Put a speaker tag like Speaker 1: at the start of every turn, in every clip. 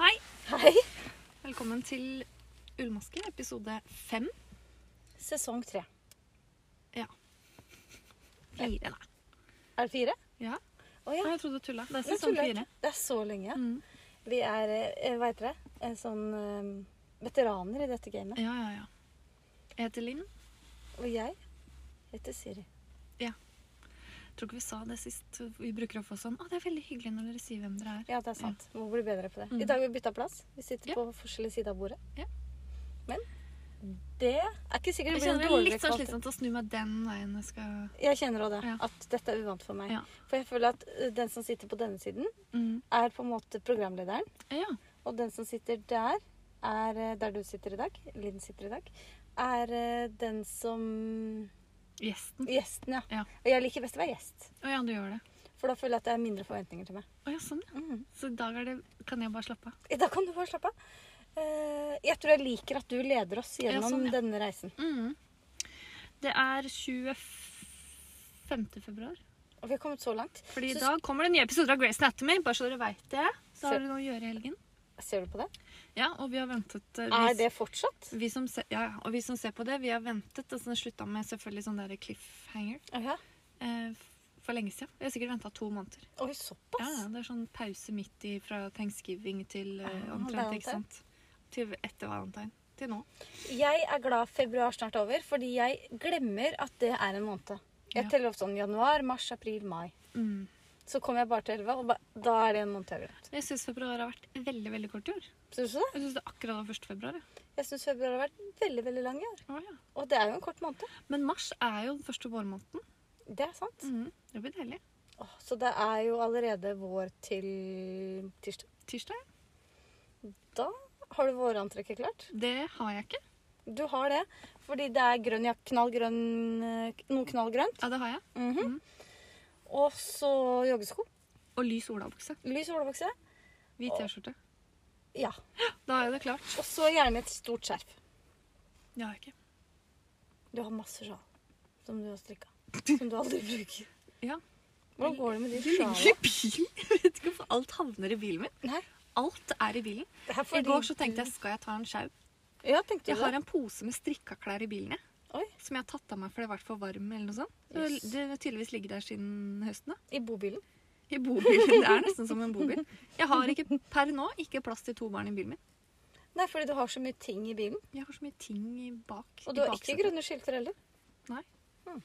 Speaker 1: Hei.
Speaker 2: Hei.
Speaker 1: Velkommen til Ullmaske, episode fem.
Speaker 2: Sesong tre.
Speaker 1: Ja. Fire, nei.
Speaker 2: Er det fire?
Speaker 1: Ja.
Speaker 2: Å ja.
Speaker 1: Nei, jeg trodde du tulla. Det er
Speaker 2: Jeg
Speaker 1: sesong
Speaker 2: tuller
Speaker 1: fire.
Speaker 2: ikke. Det er så lenge.
Speaker 1: Mm.
Speaker 2: Vi er, eh, hva heter det, en sånn eh, veteraner i dette gamet.
Speaker 1: Ja, ja, ja. Jeg heter Linn.
Speaker 2: Og jeg heter Siri.
Speaker 1: Tror ikke vi sa det sist. Vi bruker å få sånn Å, det er veldig hyggelig når dere sier hvem dere er.
Speaker 2: Ja, det er sant. Må bli bedre på det.
Speaker 1: Mm.
Speaker 2: I dag har vi bytta plass. Vi sitter
Speaker 1: Ja.
Speaker 2: på forskjellig side av bordet.
Speaker 1: Ja.
Speaker 2: Men det er ikke
Speaker 1: Jeg
Speaker 2: sikkert det blir
Speaker 1: kjenner
Speaker 2: en
Speaker 1: det er
Speaker 2: dårligere
Speaker 1: litt sånn
Speaker 2: kvalitet.
Speaker 1: slitsomt å snu meg den veien jeg skal
Speaker 2: Jeg kjenner òg det.
Speaker 1: Ja.
Speaker 2: At dette er uvant for meg.
Speaker 1: Ja.
Speaker 2: For jeg føler at eh, den som sitter på denne siden,
Speaker 1: mm.
Speaker 2: er på en måte programlederen.
Speaker 1: Ja.
Speaker 2: Og den som sitter der, er eh, der du sitter i dag, Linn sitter i dag, er eh, den som
Speaker 1: Gjesten.
Speaker 2: Gjesten, ja.
Speaker 1: Ja.
Speaker 2: Og jeg liker best å være gjest.
Speaker 1: Å ja, du gjør det.
Speaker 2: For da føler jeg at det er mindre forventninger til meg.
Speaker 1: Å ja, sånn, ja. Så i dag er det Kan jeg bare slappe av?
Speaker 2: I dag kan du bare slappe av. Eh, jeg tror jeg liker at du leder oss gjennom
Speaker 1: sånn, ja.
Speaker 2: denne reisen.
Speaker 1: Mm. Det er 25. februar.
Speaker 2: Og vi har kommet så langt.
Speaker 1: Fordi i
Speaker 2: Så
Speaker 1: dag kommer det nye episoder av Grace Anatomy, bare så dere veit det. Så har
Speaker 2: Se-
Speaker 1: dere noe å gjøre i helgen.
Speaker 2: Ser du på det?
Speaker 1: Ja, og vi har ventet eh,
Speaker 2: Er
Speaker 1: vi,
Speaker 2: det fortsatt?
Speaker 1: vi som se, ja, ja, og vi som ser på det, vi har ventet. Altså, det slutta med selvfølgelig sånn der cliffhanger
Speaker 2: Ja.
Speaker 1: eh, f- for lenge siden. Vi har sikkert venta to måneder.
Speaker 2: Oi,
Speaker 1: Ja,
Speaker 2: såpass?
Speaker 1: ja, Det er sånn pause midt i fra thanksgiving til eh,
Speaker 2: Ah,
Speaker 1: omtrent, ikke
Speaker 2: valentine.
Speaker 1: sant? Til etter valentine. Til nå.
Speaker 2: Jeg er glad februar snart er over, fordi jeg glemmer at det er en måned. Jeg
Speaker 1: Ja.
Speaker 2: teller opp sånn januar, mars, april, mai.
Speaker 1: Mm.
Speaker 2: Så kommer jeg bare til 11, og ba, da er det en måned jeg har glemt.
Speaker 1: Jeg syns februar har vært veldig veldig kort i år.
Speaker 2: Syns du det?
Speaker 1: Jeg syns det er akkurat var 1. februar. jeg.
Speaker 2: Jeg syns februar har vært veldig veldig lang i år.
Speaker 1: Å, ja.
Speaker 2: Og det er jo en kort måned.
Speaker 1: Men mars er jo den første vårmåneden.
Speaker 2: Det er sant.
Speaker 1: Mm. Det blir deilig.
Speaker 2: Åh, så det er jo allerede vår til tirsdag.
Speaker 1: Tirsdag? ja.
Speaker 2: Da har du vårantrekket klart.
Speaker 1: Det har jeg ikke.
Speaker 2: Du har det fordi det er grønn jakke, knallgrønn eh, Noe knallgrønt.
Speaker 1: Ja, det har jeg.
Speaker 2: Mhm.
Speaker 1: Mhm.
Speaker 2: Og så joggesko.
Speaker 1: Og lys olabukse.
Speaker 2: Lys olabukse.
Speaker 1: Hvit T-skjorte.
Speaker 2: Ja.
Speaker 1: Da er det klart.
Speaker 2: Og så gjerne et stort skjerf.
Speaker 1: Det har jeg ikke.
Speaker 2: Du har masse sjal som du har strikka. Som du aldri bruker.
Speaker 1: Ja.
Speaker 2: Hvordan går det med de
Speaker 1: Det ligger
Speaker 2: sjalene?
Speaker 1: i bilen. Jeg vet ikke hvorfor alt havner i bilen min.
Speaker 2: Nei,
Speaker 1: Alt er i bilen.
Speaker 2: det er
Speaker 1: I går så tenkte jeg skal jeg ta en sjau.
Speaker 2: Ja, tenkte
Speaker 1: Jeg
Speaker 2: du
Speaker 1: har
Speaker 2: det?
Speaker 1: en pose med strikka klær i bilen jeg,
Speaker 2: Oi.
Speaker 1: som jeg har tatt av meg fordi jeg har vært for varm. eller noe sånt. Det
Speaker 2: Yes.
Speaker 1: det har tydeligvis ligget der siden høsten. da.
Speaker 2: I bobilen.
Speaker 1: I bobilen. Det er nesten som en bobil. Jeg har ikke per nå ikke plass til to barn i bilen min.
Speaker 2: Nei, fordi du har så mye ting i bilen.
Speaker 1: Jeg har så mye ting i bak. i
Speaker 2: Og du har ikke
Speaker 1: baksetet.
Speaker 2: grønne skilter heller. Hm.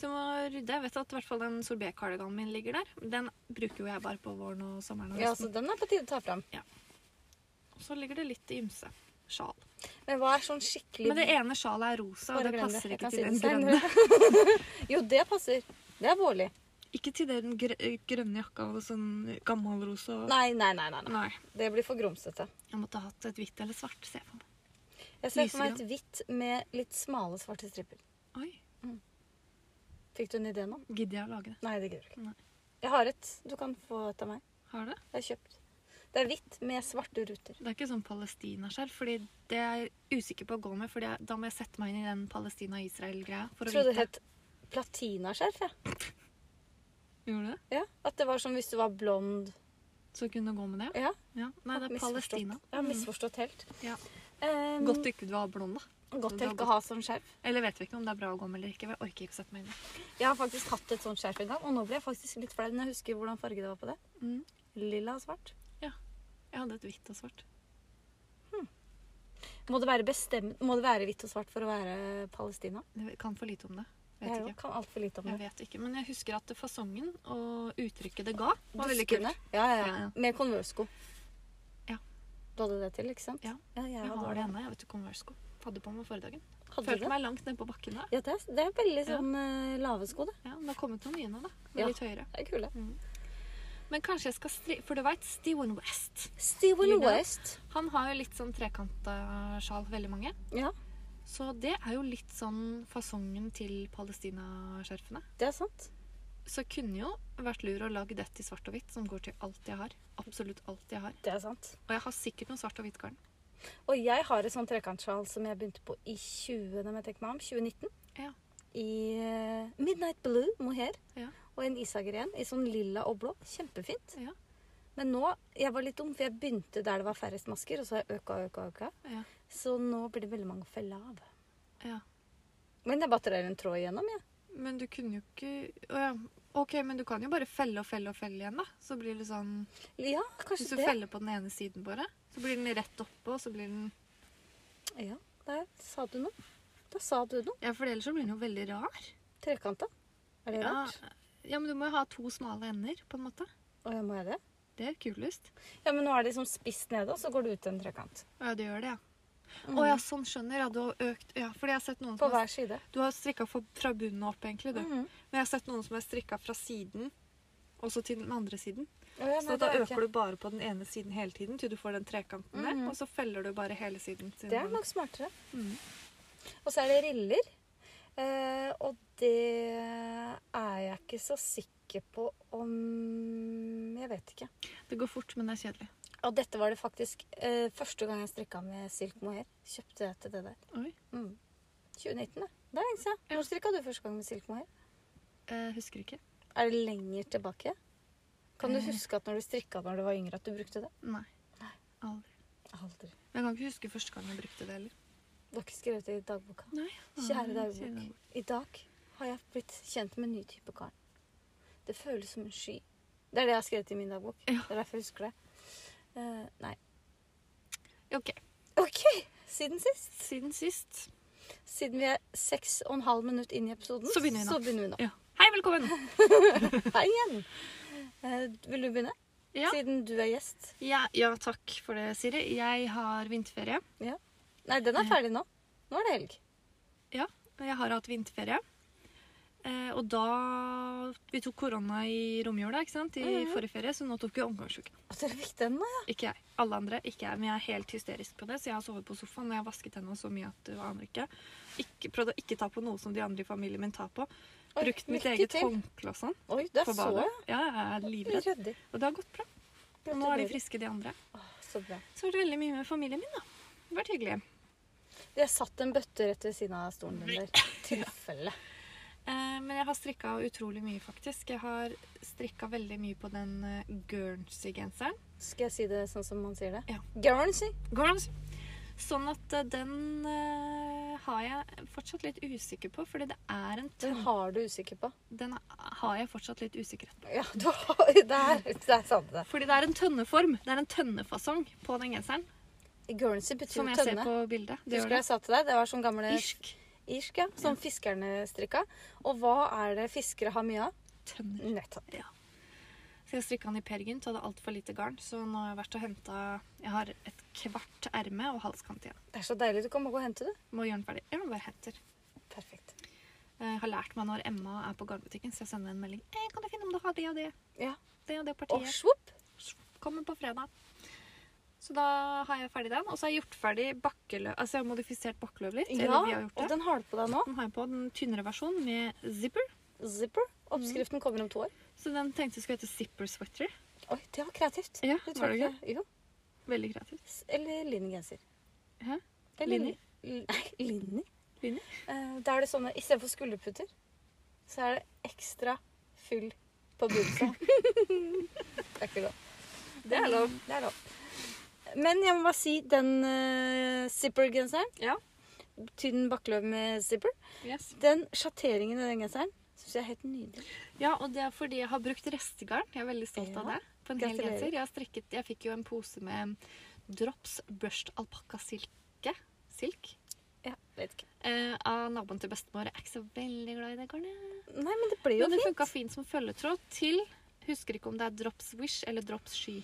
Speaker 1: Så jeg må rydde. Jeg vet at i hvert fall den sorbetkardiganen min ligger der. Den bruker jo jeg bare på våren og sommeren. og
Speaker 2: Ja,
Speaker 1: høsten.
Speaker 2: så den er på tide å ta fram.
Speaker 1: Og så ligger det litt i ymse sjal.
Speaker 2: Men hva er sånn skikkelig
Speaker 1: Men det ene sjalet er rosa, og
Speaker 2: Bare
Speaker 1: det
Speaker 2: glem
Speaker 1: passer
Speaker 2: Jeg
Speaker 1: ikke
Speaker 2: kan
Speaker 1: til
Speaker 2: si
Speaker 1: den
Speaker 2: det
Speaker 1: grønne.
Speaker 2: senere. jo, det passer. Det er vårlig.
Speaker 1: Ikke til den grø grønne jakka og sånn gammelrosa.
Speaker 2: Nei, nei, nei, nei, nei.
Speaker 1: Nei.
Speaker 2: Det blir for grumsete.
Speaker 1: Jeg måtte ha hatt et hvitt eller svart, ser jeg for meg.
Speaker 2: Jeg ser for meg et hvitt med litt smale svarte striper.
Speaker 1: Oi,
Speaker 2: Fikk du en idé nå?
Speaker 1: gidder jeg å lage det?
Speaker 2: Nei, det gidder du
Speaker 1: Nei.
Speaker 2: ikke. Jeg har et. Du kan få et av meg.
Speaker 1: Har du det?
Speaker 2: Det er kjøpt. Det er hvitt med svarte ruter.
Speaker 1: Det er ikke sånn palestinaskjerf, fordi det er jeg usikker på å gå med, for da må jeg sette meg inn i den Palestina-Israel-greia for å
Speaker 2: Jeg trodde det
Speaker 1: vite.
Speaker 2: het platinaskjerf. jeg.
Speaker 1: Gjorde du det?
Speaker 2: Ja. At det var som hvis du var blond.
Speaker 1: Så kunne du gå med det?
Speaker 2: Ja,
Speaker 1: Ja. Nei, det er
Speaker 2: misforstått.
Speaker 1: Palestina.
Speaker 2: Jeg har misforstått helt.
Speaker 1: Ja.
Speaker 2: Um,
Speaker 1: Godt ikke du var blond, da.
Speaker 2: godt
Speaker 1: det
Speaker 2: jeg
Speaker 1: var
Speaker 2: ikke å ha sånn skjerf.
Speaker 1: Eller vet vi ikke om det er bra å gå med eller ikke. men Jeg orker ikke å sette meg inn i det.
Speaker 2: Jeg har faktisk hatt et sånt skjerf en gang, og nå ble jeg faktisk litt flau når jeg husker hvordan farge det var på det.
Speaker 1: Mm.
Speaker 2: Lilla og svart.
Speaker 1: Jeg hadde et hvitt og svart.
Speaker 2: Må det være, bestemt, må det være hvitt og svart for å være Palestina?
Speaker 1: Jeg kan for lite om det. Vet
Speaker 2: Jeg
Speaker 1: ikke.
Speaker 2: jo kan altfor lite om
Speaker 1: Jeg
Speaker 2: det.
Speaker 1: vet ikke, men jeg husker at fasongen og uttrykket det ga, var veldig kult.
Speaker 2: Duskene. Ja, ja,
Speaker 1: Ja,
Speaker 2: ja.
Speaker 1: ja.
Speaker 2: Med Converse-sko.
Speaker 1: Ja.
Speaker 2: Du hadde det til, ikke sant?
Speaker 1: Ja.
Speaker 2: jeg
Speaker 1: Jeg
Speaker 2: hadde
Speaker 1: har det
Speaker 2: det.
Speaker 1: ennå. Jeg vet ikke om Versko. Hadde på meg forrige dagen.
Speaker 2: Hadde du
Speaker 1: Følte
Speaker 2: det?
Speaker 1: meg langt nede på bakken da.
Speaker 2: Ja, det er, det er veldig
Speaker 1: Ja.
Speaker 2: sånn eh, lave sko, det.
Speaker 1: Ja, men det har kommet noen nye nå, da.
Speaker 2: Ja.
Speaker 1: Ja. Litt høyere.
Speaker 2: Det er kule.
Speaker 1: Mm. Men kanskje jeg skal stri... For du veit, Steven West.
Speaker 2: Steven
Speaker 1: Lilla.
Speaker 2: West.
Speaker 1: Han har jo litt sånn trekanta sjal, veldig mange.
Speaker 2: Ja,
Speaker 1: Så det er jo litt sånn fasongen til palestinaskjerfene.
Speaker 2: det er sant.
Speaker 1: Så kunne jo vært lur å lage dette i svart og hvitt, som går til alt jeg har. Absolutt alt jeg har.
Speaker 2: Det er sant.
Speaker 1: Og jeg har sikkert noe svart og hvitt garn.
Speaker 2: Og jeg har et sånt trekantsjal som jeg begynte på i 20, når jeg tenker meg om, 2019.
Speaker 1: Ja.
Speaker 2: I eh, Midnight Blue mohair.
Speaker 1: Ja.
Speaker 2: Og en ishager igjen i sånn lilla og blå. Kjempefint.
Speaker 1: Ja.
Speaker 2: Men nå Jeg var litt dum, for jeg begynte der det var færrest masker, og så har jeg øka og øka og øka.
Speaker 1: Ja.
Speaker 2: Så nå blir det veldig mange feller av.
Speaker 1: ja.
Speaker 2: Men jeg bare drar en tråd igjennom, jeg.
Speaker 1: Men du kunne jo ikke Å ja. OK, men du kan jo bare felle og felle og felle igjen, da. Så blir det sånn
Speaker 2: Ja. ja,
Speaker 1: Hvis
Speaker 2: kanskje
Speaker 1: du
Speaker 2: det.
Speaker 1: feller på den ene siden bare, så blir den rett oppe, og så blir den
Speaker 2: Ja, der sa du noe. Da sa du noe.
Speaker 1: Ja, for ellers så blir den jo veldig rar.
Speaker 2: Trekanta. Er det
Speaker 1: Ja.
Speaker 2: rart?
Speaker 1: ja, men du må jo ha to smale ender, på en måte.
Speaker 2: Å, ja, må jeg det?
Speaker 1: Det er kulest.
Speaker 2: Ja, men nå er det liksom spist nede, og så går det ut en trekant. Mm.
Speaker 1: Å ja, du gjør det, ja. Å ja, sånn skjønner jeg. Ja, du har økt Ja, fordi jeg har sett noen
Speaker 2: På
Speaker 1: som har,
Speaker 2: hver side.
Speaker 1: Du har strikka fra fra bunnen og opp, egentlig, du.
Speaker 2: Mhm.
Speaker 1: Men jeg har sett noen som har strikka fra siden, og så til den andre siden.
Speaker 2: Å, ja,
Speaker 1: Så
Speaker 2: nei,
Speaker 1: da
Speaker 2: det er
Speaker 1: øker du bare på den ene siden hele tiden til du får den trekanten der,
Speaker 2: Mhm.
Speaker 1: og så feller du bare hele siden. til
Speaker 2: Det er
Speaker 1: den-
Speaker 2: nok smartere.
Speaker 1: Mhm.
Speaker 2: Og så er det riller. Eh, og det er jeg ikke så sikker på om Jeg vet ikke.
Speaker 1: Det går fort, men det er kjedelig.
Speaker 2: Og dette var det faktisk eh, første gang jeg strikka med silk mohair. Kjøpte jeg til det der.
Speaker 1: Oi.
Speaker 2: Mm. 2019, det. Det er lenge siden. Når strikka du første gang med silk mohair?
Speaker 1: Eh, husker ikke.
Speaker 2: Er det lenger tilbake? Kan du
Speaker 1: Eh.
Speaker 2: huske at når du strikka når du var yngre, at du brukte det?
Speaker 1: Nei. Aldri.
Speaker 2: Aldri.
Speaker 1: Men jeg kan ikke huske første gang jeg brukte det heller.
Speaker 2: Du har ikke skrevet det i dagboka?
Speaker 1: Nei.
Speaker 2: Kjære
Speaker 1: Kjære dagbok.
Speaker 2: dagbok. I dag har jeg blitt kjent med en ny type garn. Det føles som en sky. Det er det jeg har skrevet i min dagbok.
Speaker 1: Ja.
Speaker 2: Det er derfor jeg husker det. Eh, nei.
Speaker 1: OK.
Speaker 2: OK! Siden sist.
Speaker 1: Siden sist.
Speaker 2: Siden vi er seks og en halv minutt inn i episoden,
Speaker 1: Så begynner vi nå.
Speaker 2: begynner vi nå.
Speaker 1: Ja. Hei, velkommen!
Speaker 2: Hei igjen! Eh, vil du begynne?
Speaker 1: Ja.
Speaker 2: Siden du er gjest.
Speaker 1: Ja, ja, takk for det, Siri. Jeg har vinterferie.
Speaker 2: Nei, den er ferdig nå. Nå er det helg.
Speaker 1: Jeg har hatt vinterferie. Eh, og da Vi tok korona i romjula ikke sant? i
Speaker 2: Mhm.
Speaker 1: forrige ferie, så nå tok vi omgangsuke.
Speaker 2: Å, dere fikk den nå, ja.
Speaker 1: Ikke jeg. Alle andre. Ikke jeg. Men jeg er helt hysterisk på det, så jeg har sovet på sofaen og jeg har vasket hendene så mye at du aner ikke. ikke. Prøvd å ikke ta på noe som de andre i familien min tar på.
Speaker 2: Oi,
Speaker 1: Brukt mitt
Speaker 2: lykke
Speaker 1: eget
Speaker 2: til.
Speaker 1: håndkle og sånn
Speaker 2: Oi, det
Speaker 1: på
Speaker 2: er så
Speaker 1: badet.
Speaker 2: ja.
Speaker 1: Ja, jeg er livredd.
Speaker 2: Ryddig.
Speaker 1: Og det har gått bra. Og nå er de friske, de andre.
Speaker 2: Åh, Så bra.
Speaker 1: Så har det vært veldig mye med familien min, da. Det har vært hyggelig.
Speaker 2: Jeg satt en bøtte rett ved siden av stolen din der. Tilfelle.
Speaker 1: Eh, men jeg har strikka utrolig mye, faktisk. Jeg har strikka veldig mye på den eh, Guernsey-genseren.
Speaker 2: Skal jeg si det sånn som man sier det?
Speaker 1: Ja.
Speaker 2: Guernsey.
Speaker 1: Guernsey! Sånn at eh, den eh, har jeg fortsatt litt usikker på, fordi det er en
Speaker 2: Den
Speaker 1: tøm...
Speaker 2: har du usikker på.
Speaker 1: Den har jeg fortsatt litt usikkerhet på.
Speaker 2: Ja, du har Der, der sa du det.
Speaker 1: Fordi det er en tønneform. Det er en tønnefasong på den genseren.
Speaker 2: Guernsey betyr
Speaker 1: Som
Speaker 2: jo
Speaker 1: jeg ser
Speaker 2: tønne.
Speaker 1: på bildet. Det
Speaker 2: Husker
Speaker 1: gjør
Speaker 2: du
Speaker 1: det.
Speaker 2: jeg sa til deg? Det var sånn gamle
Speaker 1: Irsk.
Speaker 2: irsk, ja. Som fiskerne strikka. Og hva er det fiskere har mye av?
Speaker 1: Tønner.
Speaker 2: Nettopp.
Speaker 1: Så jeg strikka den i Peer Gynt, hadde altfor lite garn, så nå har jeg vært og henta Jeg har et kvart erme og halskant igjen.
Speaker 2: Det er så deilig. Du kan bare gå og hente det.
Speaker 1: Må gjøre den ferdig. Eller bare henter.
Speaker 2: Perfekt.
Speaker 1: Jeg har lært meg når Emma er på garnbutikken, så jeg sender en melding. «Eh, kan du finne om du har det og det?
Speaker 2: Ja.
Speaker 1: Det og det
Speaker 2: Og
Speaker 1: partiet.
Speaker 2: svopp.
Speaker 1: Kommer på fredag. Så da har jeg ferdig den. Og så har jeg gjort ferdig bakkeløv. Altså jeg har modifisert bakkeløv litt.
Speaker 2: Ja,
Speaker 1: Eller vi har
Speaker 2: og
Speaker 1: gjort det.
Speaker 2: den har du på deg nå.
Speaker 1: Den har jeg på den tynnere versjonen med zipper.
Speaker 2: Zipper.
Speaker 1: Mhm.
Speaker 2: Oppskriften kommer om to år.
Speaker 1: Så den tenkte jeg skulle hete zipper sweater.
Speaker 2: Oi, det var kreativt.
Speaker 1: Ja,
Speaker 2: Det
Speaker 1: var
Speaker 2: tror
Speaker 1: det
Speaker 2: jeg ikke. Jo.
Speaker 1: Veldig kreativt.
Speaker 2: S- Eller linjegenser.
Speaker 1: Hæ?
Speaker 2: Det er
Speaker 1: Linje?
Speaker 2: lin- Nei, linje.
Speaker 1: Linje?
Speaker 2: Eh, da er det sånne, istedenfor skulderputter, så er det ekstra fyll på buksa. det er ikke lov.
Speaker 1: Det er lov.
Speaker 2: Det er lov. Men jeg må bare si, den eh, zipper-genseren,
Speaker 1: Ja.
Speaker 2: tynn bakkeløv med zipper,
Speaker 1: Yes.
Speaker 2: den sjatteringen i den genseren syns jeg er helt nydelig.
Speaker 1: Ja, og det er fordi jeg har brukt restegarn. Jeg er veldig stolt av
Speaker 2: Ja.
Speaker 1: det. På en hel
Speaker 2: Gratulerer.
Speaker 1: genser. Jeg har strikket Jeg fikk jo en pose med drops brushed alpakka silke. Silk.
Speaker 2: Ja, vet ikke.
Speaker 1: Eh, av naboen til bestemor. Jeg er ikke så veldig glad i det garnet.
Speaker 2: Nei, men det ble jo
Speaker 1: Men det
Speaker 2: fint.
Speaker 1: funka fint som følgetråd til Husker ikke om det er drops wish eller drops sky.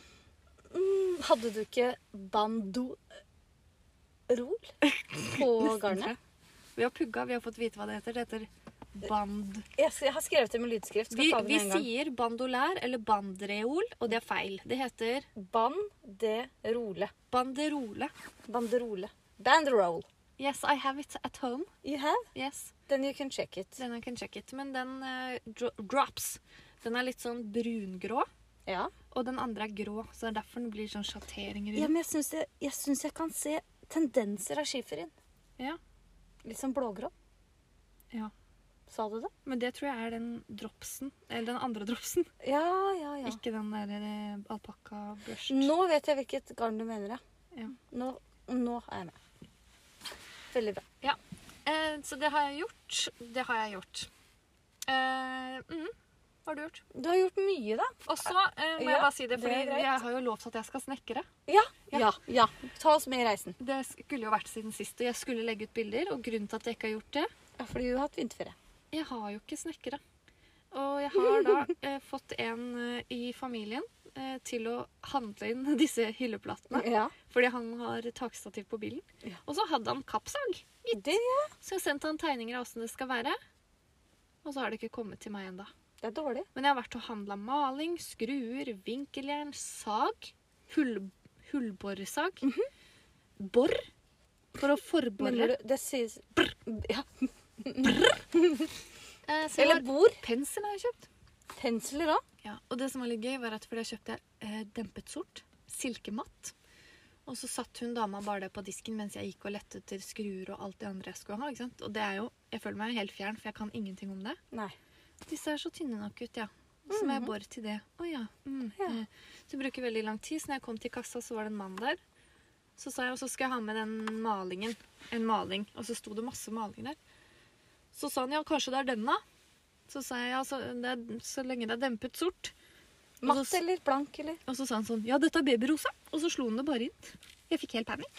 Speaker 2: Mm, Hadde du ikke bandorol på
Speaker 1: Nesten, tror
Speaker 2: garnet?
Speaker 1: jeg. Vi har pugga, vi har fått vite hva det heter. Det heter band...
Speaker 2: Jeg s- jeg har skrevet det med lydskrift. Skal
Speaker 1: Vi,
Speaker 2: ta det
Speaker 1: vi
Speaker 2: med en gang.
Speaker 1: sier bandolær eller bandreol, og det er feil. Det heter
Speaker 2: Banderole.
Speaker 1: banderole.
Speaker 2: Banderole. Banderole.
Speaker 1: Yes, I have it at home.
Speaker 2: You have?
Speaker 1: Yes,
Speaker 2: Then you can check it.
Speaker 1: den I can check it. Men den eh, dro drops, den er litt sånn brungrå.
Speaker 2: Ja.
Speaker 1: Og den andre er grå, så det er derfor den blir sånn sjatteringer
Speaker 2: ja
Speaker 1: rundt.
Speaker 2: men jeg syns jeg, jeg syns jeg kan se tendenser av skiferien.
Speaker 1: Ja.
Speaker 2: Litt sånn blågrå.
Speaker 1: Ja.
Speaker 2: Sa du det?
Speaker 1: Men det tror jeg er den dropsen. Eller den andre dropsen.
Speaker 2: Ja, ja, ja.
Speaker 1: Ikke den der eh, alpakka børst.
Speaker 2: Nå vet jeg hvilket garn du mener, ja.
Speaker 1: Ja.
Speaker 2: Nå, nå er jeg med. Veldig bra.
Speaker 1: Eh, så det har jeg gjort. Det har jeg gjort. Eh, mm, hva har du gjort?
Speaker 2: Du har gjort mye, da.
Speaker 1: Og så eh, må jeg
Speaker 2: Ja,
Speaker 1: bare si det,
Speaker 2: det er
Speaker 1: fordi
Speaker 2: greit.
Speaker 1: jeg har jo lovt at jeg skal snekre.
Speaker 2: Ja,
Speaker 1: Ja.
Speaker 2: ja, ja. Ta oss med i reisen.
Speaker 1: Det skulle jo vært siden sist, og jeg skulle legge ut bilder. Og grunnen til at jeg ikke har gjort det
Speaker 2: Ja, fordi du har hatt vinterferie.
Speaker 1: Jeg har jo ikke snekkere. Og jeg har da eh, fått en eh, i familien eh, til å handle inn disse hylleplatene.
Speaker 2: Ja.
Speaker 1: Fordi han har takstativ på bilen.
Speaker 2: Ja.
Speaker 1: Og så hadde han kappsag.
Speaker 2: Det,
Speaker 1: Så jeg sendte han tegninger av åssen det skal være. Og så har det ikke kommet til meg ennå.
Speaker 2: det er dårlig.
Speaker 1: Men jeg har vært og handla maling, skruer, vinkeljern, sag. Hull, hullboresag. Bor. For å
Speaker 2: Mener
Speaker 1: forbore.
Speaker 2: du, det sies Ja.
Speaker 1: Eh, så jeg
Speaker 2: Eller
Speaker 1: har,
Speaker 2: bord.
Speaker 1: pensel har jeg kjøpt.
Speaker 2: Pensler òg.
Speaker 1: Ja, og det som var litt gøy var at fordi jeg kjøpte eh, dempet sort, silkematt, og så satt hun dama bare det på disken mens jeg gikk og lette etter skruer og alt det andre jeg skulle ha, ikke sant? Og det er jo, jeg føler meg helt fjern, for jeg kan ingenting om det.
Speaker 2: Nei.
Speaker 1: Disse er så tynne nok ut, ja. Og Så må jeg bore til det. Å ja. Mm.
Speaker 2: Mhm. Ja.
Speaker 1: eh, Så det bruker veldig lang tid, så når jeg kom til kassa så var det en mann der. Så sa jeg, og så skal jeg ha med den malingen. En maling. Og så sto det masse maling der. Så sa han, ja, kanskje det er denne. Så sa jeg, ja, så, det er, så lenge det er dempet sort. Og
Speaker 2: Matt
Speaker 1: så-
Speaker 2: eller blank eller
Speaker 1: og så sa han sånn Ja, dette er babyrosa. Og så slo han det bare inn. Jeg fikk helt panikk.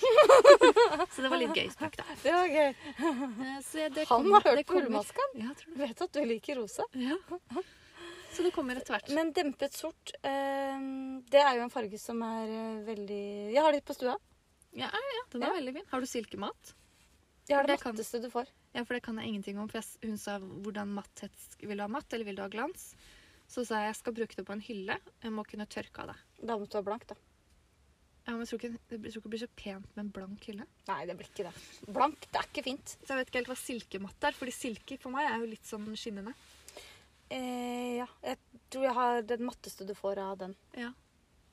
Speaker 1: så det var litt gøy spøk, da.
Speaker 2: Det var gøy.
Speaker 1: Eh, Så jeg- det
Speaker 2: Han
Speaker 1: kommer-
Speaker 2: har hørt
Speaker 1: det kommer.
Speaker 2: Gullmaskeren.
Speaker 1: Ja, jeg tror det.
Speaker 2: Vet at du liker rosa.
Speaker 1: Ja. Så det kommer etter hvert.
Speaker 2: Men dempet sort, eh, det er jo en farge som er eh, veldig Jeg har det på stua.
Speaker 1: Ja, ja, ja, den er
Speaker 2: Ja.
Speaker 1: veldig fin. Har du silkemat?
Speaker 2: Jeg har det,
Speaker 1: Det kan-
Speaker 2: matteste du får.
Speaker 1: Ja, for det kan jeg ingenting om. For jeg, s- hun sa hvordan matthet sk- Vil du ha matt, eller vil du ha glans? Så sa jeg jeg skal bruke det på en hylle. Jeg må kunne tørke av det.
Speaker 2: Da måtte du ha blank, da.
Speaker 1: Ja, men jeg tror ikke, jeg tror ikke det blir så pent med en blank hylle.
Speaker 2: Nei, det blir ikke det. Blank, det er ikke fint.
Speaker 1: Så jeg vet ikke helt hva silkematt er, fordi silke for meg er jo litt sånn skinnende.
Speaker 2: Eh, ja, jeg tror jeg har den matteste du får av den
Speaker 1: Ja,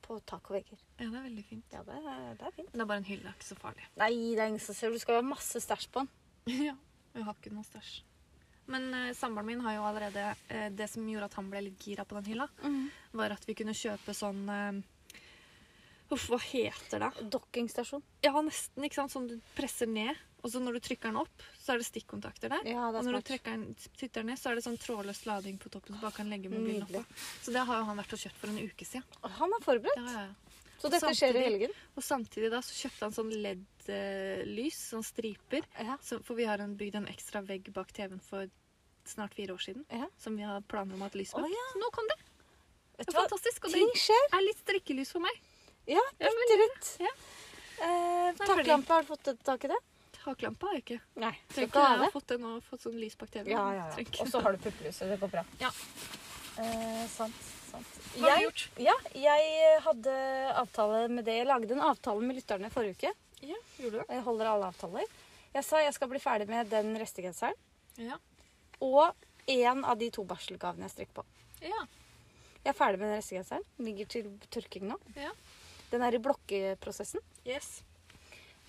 Speaker 2: på tak og vegger.
Speaker 1: ja det er veldig fint.
Speaker 2: Ja, det er, det er fint.
Speaker 1: Men det er bare en hylle, det er ikke så farlig.
Speaker 2: Nei, det er ingen som ser. Du skal jo ha masse stæsj på den.
Speaker 1: Ja, jeg har ikke noe stæsj. Men eh, samboeren min har jo allerede eh, Det som gjorde at han ble litt gira på den hylla,
Speaker 2: Mhm.
Speaker 1: var at vi kunne kjøpe sånn eh, Uff, hva heter det?
Speaker 2: Dokkingstasjon.
Speaker 1: Ja, nesten. ikke sant? Sånn du presser ned, og så når du trykker den opp, så er det stikkontakter der.
Speaker 2: Ja, det
Speaker 1: Og
Speaker 2: er
Speaker 1: når du
Speaker 2: smart.
Speaker 1: trykker den, dytter den ned, så er det sånn trådløs lading på toppen. Så du bare kan legge mobilen oppå. Så det har jo han vært og kjøpt for en uke siden.
Speaker 2: Å, Han er forberedt.
Speaker 1: Ja, ja, ja.
Speaker 2: Så dette skjer i
Speaker 1: Samtidig-
Speaker 2: helgen.
Speaker 1: Og samtidig da så kjøpte han sånn LED-lys, sånn striper.
Speaker 2: Ja.
Speaker 1: Så, for vi har en, bygd en ekstra vegg bak TV-en for snart fire år siden.
Speaker 2: Ja.
Speaker 1: Som vi har planer om å ha et lys bak.
Speaker 2: Å, ja.
Speaker 1: Så nå kom det!
Speaker 2: Vet
Speaker 1: Det
Speaker 2: du
Speaker 1: er
Speaker 2: hva?
Speaker 1: fantastisk. Og
Speaker 2: Ting
Speaker 1: det
Speaker 2: skjer.
Speaker 1: er litt strikkelys for meg.
Speaker 2: Ja,
Speaker 1: Ja,
Speaker 2: bitte litt.
Speaker 1: ja.
Speaker 2: Eh,
Speaker 1: fordi-
Speaker 2: Taklampe, har du fått tak i det?
Speaker 1: Taklampa har jeg ikke.
Speaker 2: Nei.
Speaker 1: Trenger
Speaker 2: Skal
Speaker 1: ikke
Speaker 2: ha
Speaker 1: jeg
Speaker 2: det?
Speaker 1: har fått det nå, fått sånn lys bak TV-en.
Speaker 2: Ja, ja, ja.
Speaker 1: Trenger ikke.
Speaker 2: Og så har du puppelyset. Det går bra.
Speaker 1: Ja.
Speaker 2: Eh, sant. sant.
Speaker 1: Hva har du
Speaker 2: Jeg,
Speaker 1: gjort?
Speaker 2: ja, jeg hadde avtale med det. Jeg lagde en avtale med lytterne forrige uke.
Speaker 1: Ja, gjorde du det?
Speaker 2: og Jeg holder alle avtaler. Jeg sa jeg skal bli ferdig med den restegenseren
Speaker 1: Ja.
Speaker 2: og én av de to barselgavene jeg strikker på.
Speaker 1: Ja.
Speaker 2: Jeg er ferdig med den restegenseren. Den Ligger til tørking nå.
Speaker 1: ja.
Speaker 2: Den er i blokkeprosessen.
Speaker 1: Yes.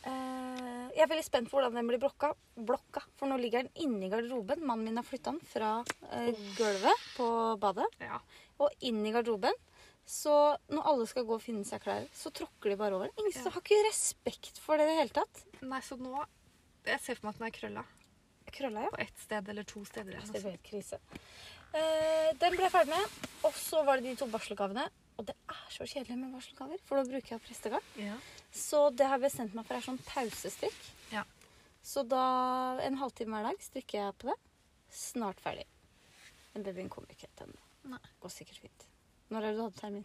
Speaker 2: Eh, jeg er veldig spent på hvordan den blir blokka. blokka. For nå ligger den inni garderoben. Mannen min har flytta den fra eh, gulvet på badet
Speaker 1: Ja.
Speaker 2: og inn i garderoben. Så når alle skal gå og finne seg klær, så tråkker de bare over den. Ingen
Speaker 1: Ja.
Speaker 2: har ikke respekt for det i det hele tatt.
Speaker 1: Nei, så nå Jeg ser for meg at den er krølla
Speaker 2: Krølla, ja.
Speaker 1: på ett sted eller to steder. eller
Speaker 2: Altså,
Speaker 1: noe
Speaker 2: det var helt krise. Eh, den ble jeg ferdig med. Og så var det de to barselgavene. Og det er så kjedelig med barselgaver, for da bruker jeg prestegarn.
Speaker 1: sånt. Ja.
Speaker 2: Så det har jeg bestemt meg for er sånn pausestrikk.
Speaker 1: Ja.
Speaker 2: Så da en halvtime hver dag strikker jeg på det. Snart ferdig. Men babyen kommer ikke helt ennå.
Speaker 1: Nei.
Speaker 2: Går sikkert fint. Når er det du hadde termin?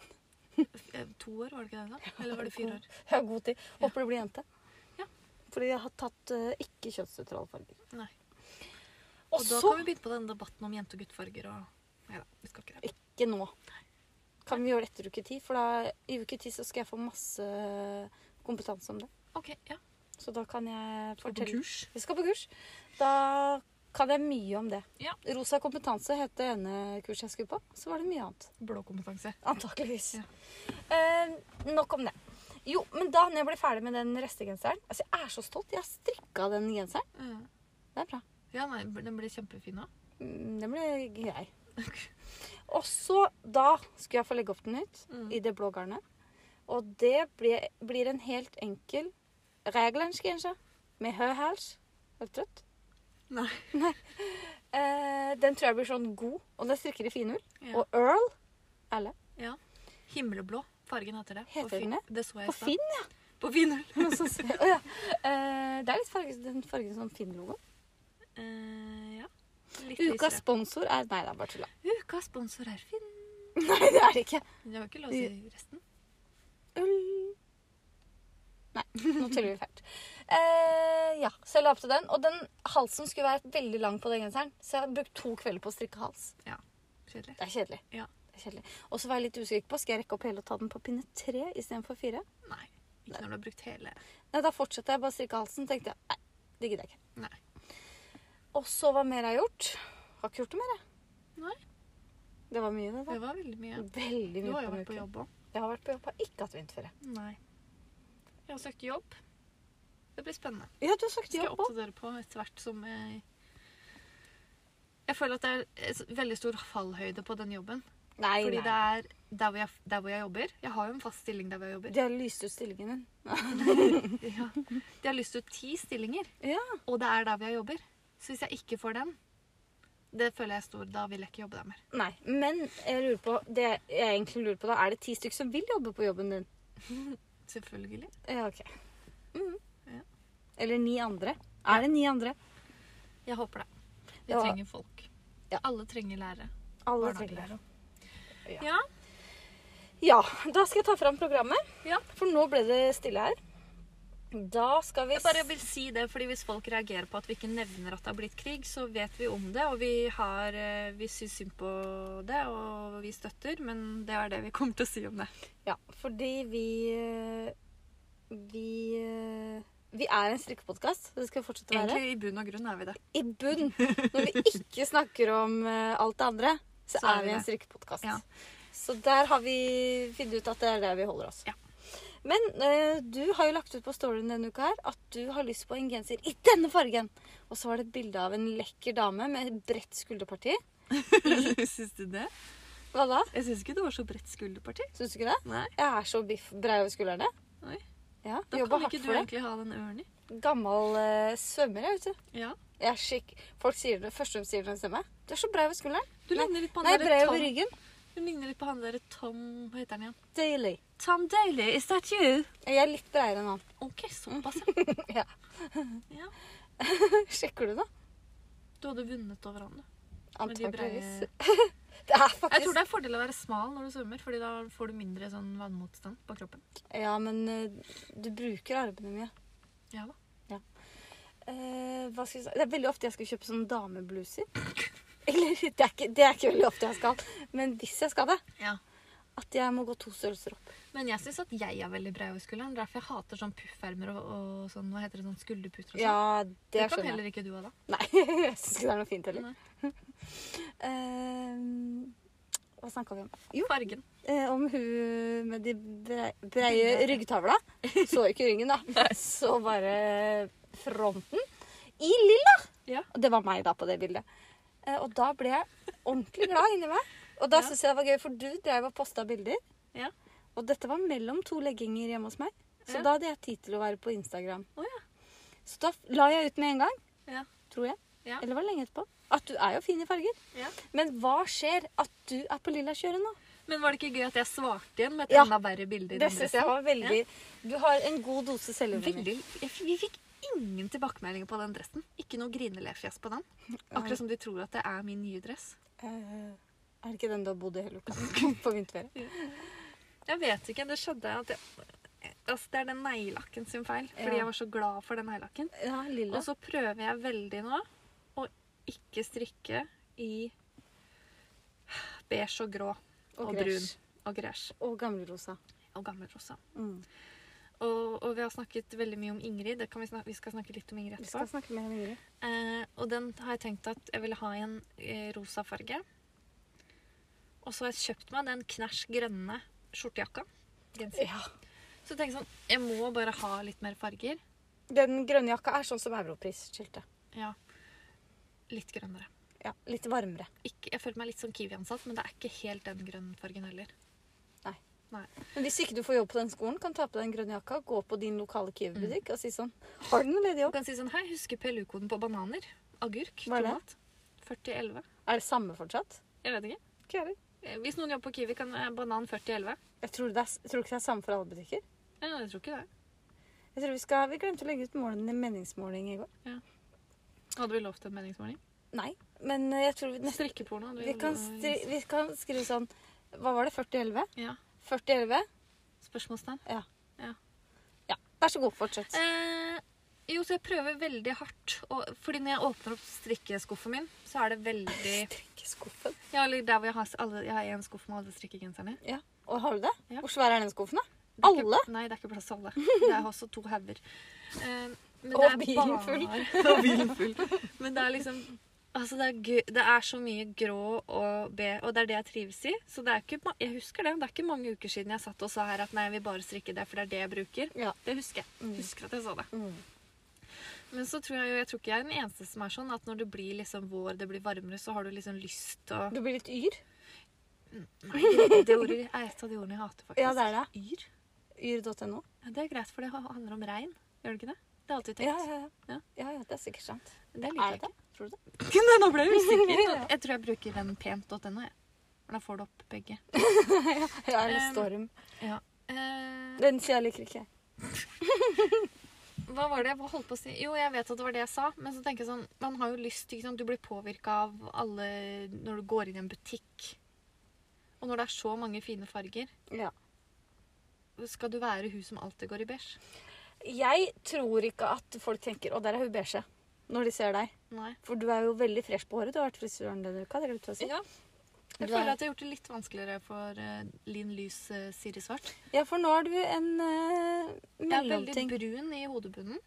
Speaker 1: Eh, To år, var det ikke det? da? Eller var det fire år?
Speaker 2: Jeg har god tid.
Speaker 1: Ja.
Speaker 2: Håper det blir jente.
Speaker 1: Ja.
Speaker 2: Fordi jeg har tatt eh, ikke kjønnsnøytrale farger.
Speaker 1: Nei. Og
Speaker 2: Og,
Speaker 1: da
Speaker 2: så
Speaker 1: kan vi begynne på denne debatten om jente- og guttfarger og Nei da, vi skal ikke det.
Speaker 2: Ikke nå. Kan vi gjøre det etter uke ti? For da, i uke ti så skal jeg få masse kompetanse om det.
Speaker 1: OK, ja.
Speaker 2: Så da kan jeg
Speaker 1: Skal på
Speaker 2: fortelle
Speaker 1: kurs.
Speaker 2: Vi skal på kurs. Da kan jeg mye om det.
Speaker 1: Ja.
Speaker 2: Rosa kompetanse het det ene kurset jeg skulle på. Så var det mye annet.
Speaker 1: Blå kompetanse.
Speaker 2: Antakeligvis.
Speaker 1: Ja.
Speaker 2: Eh, nok om det. Jo, men da når jeg ble ferdig med den restegenseren Altså, jeg er så stolt. Jeg strikka den genseren.
Speaker 1: Mm.
Speaker 2: Det er bra.
Speaker 1: Ja, nei, den blir kjempefin nå.
Speaker 2: Mm, Den ble grei. Og så da skulle jeg få legge opp den ut
Speaker 1: Mm.
Speaker 2: i det blå garnet. Og det ble, blir en helt enkel reglandsgenser med høy hals. Er du trøtt?
Speaker 1: Nei.
Speaker 2: Eh, den tror jeg blir sånn god, og den strikker i finull.
Speaker 1: Ja.
Speaker 2: Og Earl Alle.
Speaker 1: Himmelblå fargen heter det.
Speaker 2: Heter
Speaker 1: På Finn-
Speaker 2: den
Speaker 1: Det så jeg
Speaker 2: På
Speaker 1: i stad.
Speaker 2: Finn,
Speaker 1: På Finn.
Speaker 2: ja. Noe sånt. Å ja. eh, det er litt farge, den fargen som Finn-logoen.
Speaker 1: Eh, ja. Litt
Speaker 2: Ukas
Speaker 1: lysere.
Speaker 2: sponsor er Nei, det er bare tulla.
Speaker 1: Ukas sponsor er Finn.
Speaker 2: Nei, det er det ikke.
Speaker 1: Men Jeg har ikke lov å si resten.
Speaker 2: Ull. Nei, nå tuller vi fælt. Eh, ja, så jeg la opp til den. Og den halsen skulle vært veldig lang på den genseren, så jeg har brukt to kvelder på å strikke hals.
Speaker 1: Kjedelig.
Speaker 2: Det er kjedelig.
Speaker 1: Ja.
Speaker 2: Det er kjedelig. Og så var jeg litt usikker på skal jeg rekke opp hele og ta den på pinne tre istedenfor fire.
Speaker 1: Nei. Ikke når du har brukt hele
Speaker 2: Nei, da fortsetter jeg bare å strikke halsen, tenkte jeg. Nei, det gidder jeg ikke.
Speaker 1: Nei.
Speaker 2: Og så hva mer jeg har gjort? Har ikke gjort det mer, jeg.
Speaker 1: Nei.
Speaker 2: Det var mye, det.
Speaker 1: Det
Speaker 2: da.
Speaker 1: var veldig mye.
Speaker 2: Veldig
Speaker 1: Du
Speaker 2: mye.
Speaker 1: har jo
Speaker 2: på en
Speaker 1: vært på
Speaker 2: uke.
Speaker 1: jobb òg.
Speaker 2: Jeg har vært på jobb, har ikke hatt vinterferie.
Speaker 1: Nei. Jeg har søkt jobb. Det blir spennende.
Speaker 2: Ja, du har
Speaker 1: Det
Speaker 2: sagt
Speaker 1: skal jeg
Speaker 2: jobb òg.
Speaker 1: oppdatere på etter hvert som jeg Jeg føler at det er eh, s- veldig stor fallhøyde på den jobben.
Speaker 2: Nei,
Speaker 1: Fordi
Speaker 2: nei.
Speaker 1: det er der hvor, jeg, der hvor jeg jobber. Jeg har jo en fast stilling der hvor jeg jobber.
Speaker 2: De har lyst ut stillingen din.
Speaker 1: Ja. De har lyst ut ti stillinger,
Speaker 2: Ja.
Speaker 1: og det er der hvor jeg jobber. Så hvis jeg ikke får den, det føler jeg er stor, da vil jeg ikke jobbe der mer.
Speaker 2: Nei, men jeg lurer på, det jeg egentlig lurer på da, er det ti stykker som vil jobbe på jobben din?
Speaker 1: Selvfølgelig.
Speaker 2: Ja, ok. Mhm.
Speaker 1: Ja.
Speaker 2: Eller ni andre. Er det ni andre?
Speaker 1: Jeg håper det. Vi
Speaker 2: Ja.
Speaker 1: trenger folk.
Speaker 2: Ja.
Speaker 1: Alle trenger lærere.
Speaker 2: Alle trenger det.
Speaker 1: Barnehagelærere.
Speaker 2: Ja.
Speaker 1: Ja.
Speaker 2: Ja, da skal jeg ta fram programmet.
Speaker 1: Ja.
Speaker 2: For nå ble det stille her. Da skal vi...
Speaker 1: Jeg bare vil si det, fordi Hvis folk reagerer på at vi ikke nevner at det har blitt krig, så vet vi om det. Og vi, har, eh, vi syns synd på det, og vi støtter, men det er det vi kommer til å si om det.
Speaker 2: Ja, fordi vi... eh, Vi... eh, Vi er en strikkepodcast, og det skal vi fortsette å være.
Speaker 1: Egentlig i bunn og grunn er vi det.
Speaker 2: I bunn, når vi ikke snakker om eh, alt det andre, så,
Speaker 1: Så er
Speaker 2: er
Speaker 1: vi
Speaker 2: vi en
Speaker 1: det.
Speaker 2: strikkepodkast.
Speaker 1: Ja.
Speaker 2: Så der har vi funnet ut at det er der vi holder oss.
Speaker 1: Ja.
Speaker 2: Men eh, du har jo lagt ut på storyen denne uka her at du har lyst på en genser i denne fargen. Og så var det et bilde av en lekker dame med et bredt skulderparti.
Speaker 1: syns du det?
Speaker 2: Hva da?
Speaker 1: Jeg syns ikke det var så bredt skulderparti.
Speaker 2: Syns du ikke det?
Speaker 1: Nei.
Speaker 2: Jeg er så biff brei over skuldrene.
Speaker 1: Oi.
Speaker 2: Ja,
Speaker 1: Da
Speaker 2: Jobba
Speaker 1: kan
Speaker 2: hardt
Speaker 1: ikke du
Speaker 2: for det.
Speaker 1: egentlig ha den ørnen i.
Speaker 2: Gammel eh, svømmer, jeg, vet du.
Speaker 1: Ja.
Speaker 2: Jeg er skikk... Folk sier det første de sier når de ser meg. Du er så brei over skulderen.
Speaker 1: Du ligner litt på
Speaker 2: Nei,
Speaker 1: han
Speaker 2: brei
Speaker 1: derre
Speaker 2: over
Speaker 1: Tom.
Speaker 2: ryggen.
Speaker 1: Du ligner litt på han derre Tom Hva heter han igjen?
Speaker 2: Daily.
Speaker 1: Tom Daly, is that you?
Speaker 2: Jeg er litt breiere enn han.
Speaker 1: OK, såpass, ja.
Speaker 2: Ja.
Speaker 1: ja.
Speaker 2: Sjekker du det?
Speaker 1: Du hadde vunnet over han, du. Med de
Speaker 2: Antakeligvis.
Speaker 1: breie-
Speaker 2: Det er
Speaker 1: Jeg
Speaker 2: faktisk
Speaker 1: tror det er fordel å være smal når du svømmer, fordi da får du mindre sånn vannmotstand på kroppen.
Speaker 2: Ja, men eh, du bruker armene mye.
Speaker 1: Ja da.
Speaker 2: Eh, hva skal jeg si? Det er veldig ofte jeg skal kjøpe sånne damebluser. Eller det er, ikke, det er ikke veldig ofte jeg skal, men hvis jeg skal det,
Speaker 1: Ja.
Speaker 2: at jeg må gå to størrelser opp.
Speaker 1: Men jeg syns at jeg er veldig bred over skulderen. Derfor jeg hater sånn puffermer og, og sånn, hva heter det, sånn skulderputer og sånn.
Speaker 2: Ja, det
Speaker 1: det kan
Speaker 2: skjønner jeg.
Speaker 1: heller ikke du ha, da.
Speaker 2: Nei, jeg syns ikke det er noe fint heller.
Speaker 1: Nei.
Speaker 2: Eh, hva snakka vi om? Jo,
Speaker 1: Fargen.
Speaker 2: eh, om hun med de brei- breie ryggtavla. Så ikke ryggen, da. Så bare fronten. I lilla!
Speaker 1: Ja.
Speaker 2: Og det var meg da på det bildet. Eh, Og da ble jeg ordentlig glad inni meg. Og da
Speaker 1: Ja.
Speaker 2: synes syns jeg det var gøy, for du drev og posta bilder.
Speaker 1: Ja.
Speaker 2: Og dette var mellom to legginger hjemme hos meg. Så
Speaker 1: Ja.
Speaker 2: da hadde jeg tid til å være på Instagram.
Speaker 1: Å, ja.
Speaker 2: Så da la jeg ut med en gang,
Speaker 1: Ja.
Speaker 2: tror jeg.
Speaker 1: Ja.
Speaker 2: Eller var det lenge etterpå? At du er jo fin i farger.
Speaker 1: Ja.
Speaker 2: Men hva skjer at du er på lilla kjøret nå?
Speaker 1: Men var det ikke gøy at jeg svarte igjen med et
Speaker 2: Ja.
Speaker 1: enda verre bilde? i
Speaker 2: Det
Speaker 1: den
Speaker 2: syns
Speaker 1: dressen?
Speaker 2: jeg var veldig Du har en god dose selvironi.
Speaker 1: Veldig, jeg, f- Vi fikk ingen tilbakemeldinger på den dressen. Ikke noe grinelefjes på den. Akkurat som de tror at det er min nye dress.
Speaker 2: Eh, er det ikke den du har bodd i hele uka? på vinterferie?
Speaker 1: Jeg vet ikke. Det skjedde at jeg, altså, Det er den neglelakken sin feil. Fordi
Speaker 2: Ja.
Speaker 1: jeg var så glad for den neglelakken.
Speaker 2: Ja, lilla.
Speaker 1: Og så prøver jeg veldig nå å ikke strikke i beige og grå og, brun
Speaker 2: gresj.
Speaker 1: og gresj
Speaker 2: Og gamlerosa.
Speaker 1: og gammelrosa.
Speaker 2: Mm.
Speaker 1: Og, og vi har snakket veldig mye om Ingrid. Det kan vi, snak vi skal snakke litt om Ingrid
Speaker 2: Vi skal
Speaker 1: etterpå.
Speaker 2: snakke mer om Ingrid.
Speaker 1: Eh, og den har jeg tenkt at jeg ville ha i en eh, rosa farge. Og så har jeg kjøpt meg den knæsj grønne skjortejakka. Genser.
Speaker 2: Ja.
Speaker 1: Så tenker jeg sånn, jeg må bare ha litt mer farger.
Speaker 2: Den grønne jakka er sånn som europrisskiltet.
Speaker 1: Ja. Litt grønnere.
Speaker 2: ja, litt varmere.
Speaker 1: Ikke, jeg føler meg litt sånn Kiwi-ansatt, men det er ikke helt den grønnfargen heller.
Speaker 2: Nei.
Speaker 1: Nei.
Speaker 2: Men hvis ikke du får jobb på den skolen, kan du ta på deg den grønne jakka, gå på din lokale Kiwi-butikk og si sånn Har du noe ledig
Speaker 1: Du
Speaker 2: jobb?
Speaker 1: kan si sånn Hei, husker PLU-koden på bananer? Agurk?
Speaker 2: Hva er det?
Speaker 1: Tomat? 4011?
Speaker 2: Er det samme fortsatt?
Speaker 1: Jeg vet ikke.
Speaker 2: Ikke jeg heller.
Speaker 1: Eh, Hvis noen jobber på Kiwi, kan eh, banan 4011?
Speaker 2: Jeg tror, det er, s- tror du ikke det er samme for alle butikker.
Speaker 1: Ja, jeg tror ikke det.
Speaker 2: Jeg tror Vi skal, vi glemte å legge ut målene i meningsmåling i går.
Speaker 1: Hadde vi lovt en meningsmåling?
Speaker 2: Nei, men eh, jeg tror vi, neste,
Speaker 1: Strikkeporno hadde vi,
Speaker 2: vi, kan,
Speaker 1: lovet-
Speaker 2: stri, vi kan skrive sånn Hva var det? 4011?
Speaker 1: Ja.
Speaker 2: 4011?
Speaker 1: Spørsmålstegn.
Speaker 2: Ja. Vær så god, fortsett.
Speaker 1: Eh, jo, så jeg prøver veldig hardt. Og, fordi når jeg åpner opp strikkeskuffen min, så er det veldig
Speaker 2: Strikkeskuffen.
Speaker 1: Ja, eller der hvor jeg har, s- alle, jeg har en skuff med alle strikkegenserne.
Speaker 2: Ja. Og har du det?
Speaker 1: Ja.
Speaker 2: Hvor svær er den skuffen, da?
Speaker 1: Det er
Speaker 2: Alle?
Speaker 1: Ikke, nei, det er ikke plass til alle. Det er også to hauger. Eh, men
Speaker 2: Og
Speaker 1: det er
Speaker 2: bilen
Speaker 1: bare-
Speaker 2: full.
Speaker 1: og bilen full. Men det er liksom Altså, det er, gøy- det er så mye grå og be, og det er det jeg trives i. Så det er ikke, ma- jeg husker det. Det er ikke mange uker siden jeg satt og sa her at nei, jeg vil bare strikke det, for det er det jeg bruker.
Speaker 2: Ja.
Speaker 1: Det husker jeg.
Speaker 2: Mm.
Speaker 1: Husker at jeg sa det.
Speaker 2: Mm.
Speaker 1: Men så tror jeg jo, jeg tror ikke jeg er den eneste som er sånn at når det blir liksom vår, det blir varmere, så har du liksom lyst til å
Speaker 2: Du blir litt yr?
Speaker 1: Nei, det ordet er et av de ordene jeg hater, faktisk.
Speaker 2: Ja, det er det.
Speaker 1: Yr.
Speaker 2: Yr.no.
Speaker 1: Ja, det er greit, for det ha- handler om regn. Gjør det ikke det? Det er alltid tenkt.
Speaker 2: Ja, ja,
Speaker 1: Ja.
Speaker 2: ja. ja, ja. Det er sikkert sant.
Speaker 1: Det liker
Speaker 2: Er
Speaker 1: jeg
Speaker 2: det?
Speaker 1: ikke.
Speaker 2: Tror du det?
Speaker 1: Nei, nå ble jeg usikker.
Speaker 2: Ja.
Speaker 1: Jeg tror jeg bruker den pent.no, jeg. For da får du opp begge.
Speaker 2: Ja, eller
Speaker 1: Um,
Speaker 2: storm.
Speaker 1: Ja. Eh,
Speaker 2: Den sida liker ikke jeg.
Speaker 1: hva var det jeg holdt på å si? Jo, jeg vet at det var det jeg sa, men så tenker jeg sånn Man har jo lyst, ikke sant. Du blir påvirka av alle når du går inn i en butikk. Og når det er så mange fine farger,
Speaker 2: Ja.
Speaker 1: skal du være hun som alltid går i beige?
Speaker 2: Jeg tror ikke at folk tenker 'Å, der er hun beige', når de ser deg.
Speaker 1: Nei.
Speaker 2: For du er jo veldig fresh på håret. Du har vært frisøren denne uka. Det glemte jeg å si.
Speaker 1: Ja. Jeg
Speaker 2: Du er-
Speaker 1: føler at jeg har gjort det litt vanskeligere for eh, Linn Lys uh, Siri Svart.
Speaker 2: Ja, for nå er du en eh,
Speaker 1: Jeg er veldig
Speaker 2: mellomting.
Speaker 1: brun i hodebunnen.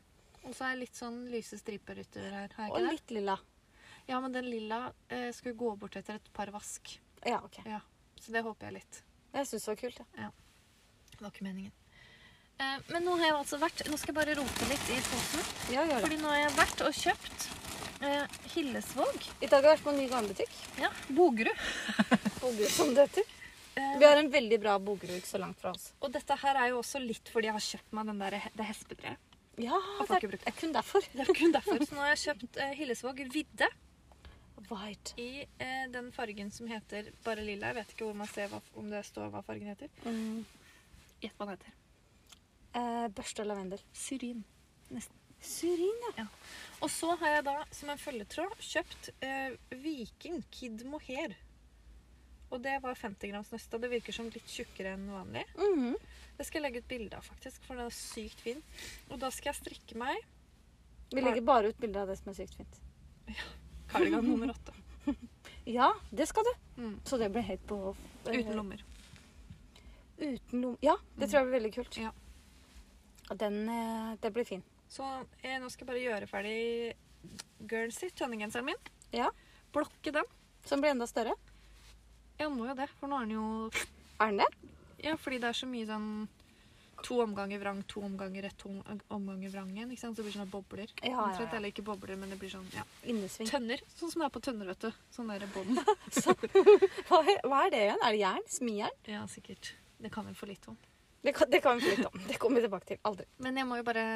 Speaker 1: Og så er jeg litt sånn lyse striper utover her. Har
Speaker 2: Og
Speaker 1: jeg ikke
Speaker 2: litt lilla.
Speaker 1: det? Ja, men den lilla eh, skulle gå bort etter et par vask.
Speaker 2: Ja, OK.
Speaker 1: Ja, Så det håper jeg litt.
Speaker 2: Jeg syns det var kult, jeg.
Speaker 1: Det var ikke meningen. Eh, men nå har jeg altså vært Nå skal jeg bare rote litt i posen.
Speaker 2: Ja. gjør det.
Speaker 1: Fordi nå har jeg vært og kjøpt eh, Hillesvåg.
Speaker 2: I dag har jeg vært på en ny gavebutikk.
Speaker 1: Ja, Bogerud.
Speaker 2: Bogerud, som det heter.
Speaker 1: Eh,
Speaker 2: Vi har en veldig bra Bogerud ikke så langt fra oss.
Speaker 1: og dette her er jo også litt fordi jeg har kjøpt meg den der, det hespebreet.
Speaker 2: Ja,
Speaker 1: får
Speaker 2: det
Speaker 1: ikke
Speaker 2: er,
Speaker 1: brukt.
Speaker 2: det er kun derfor.
Speaker 1: Det er kun derfor. Så nå har jeg kjøpt eh, Hillesvåg vidde.
Speaker 2: White.
Speaker 1: I eh, den fargen som heter bare lilla. Jeg vet ikke hvor man ser hva, om det står hva fargen heter.
Speaker 2: Mm.
Speaker 1: Gjett hva den heter.
Speaker 2: Eh, børste og lavendel.
Speaker 1: Syrin.
Speaker 2: Syrin, ja.
Speaker 1: Og så har jeg da som en følgetråd kjøpt eh, Viking Kid Mohair. Og det var 50 grams nøst, og det virker som litt tjukkere enn vanlig.
Speaker 2: Mhm.
Speaker 1: Det skal jeg legge ut bilde av, faktisk, for den er sykt fin. Og da skal jeg strikke meg
Speaker 2: Vi legger bare ut bilder av det som er sykt fint.
Speaker 1: kardigan nummer åtte.
Speaker 2: Ja, det skal du.
Speaker 1: Mm.
Speaker 2: Så det blir helt på
Speaker 1: Uten lommer.
Speaker 2: Eh, Uten lom. Ja, det tror jeg blir veldig kult.
Speaker 1: Ja.
Speaker 2: Og den, eh, den blir fin.
Speaker 1: Så eh, nå skal jeg bare gjøre ferdig Guernsey, tønnegenseren min.
Speaker 2: Ja.
Speaker 1: Blokke den.
Speaker 2: Som blir enda større.
Speaker 1: Jeg må jo det, for nå er den jo
Speaker 2: Er den det?
Speaker 1: Ja, fordi det er så mye sånn To omganger vrang, to omganger rett, to om- omganger vrangen. ikke sant? Så det blir sånne bobler.
Speaker 2: Ja, ja, ja.
Speaker 1: Omtrent, Eller ikke bobler, men det blir sånn ja.
Speaker 2: Innesving.
Speaker 1: Tønner. Sånn som det er på tønner, vet du. Sånn derre bånd.
Speaker 2: Så- Hva, hva er det igjen? Er det jern? Smijern?
Speaker 1: Ja, sikkert. Det kan vi for litt om.
Speaker 2: Det kan, det kan vi få litt om. Det kommer vi tilbake til. Aldri.
Speaker 1: Men jeg må jo bare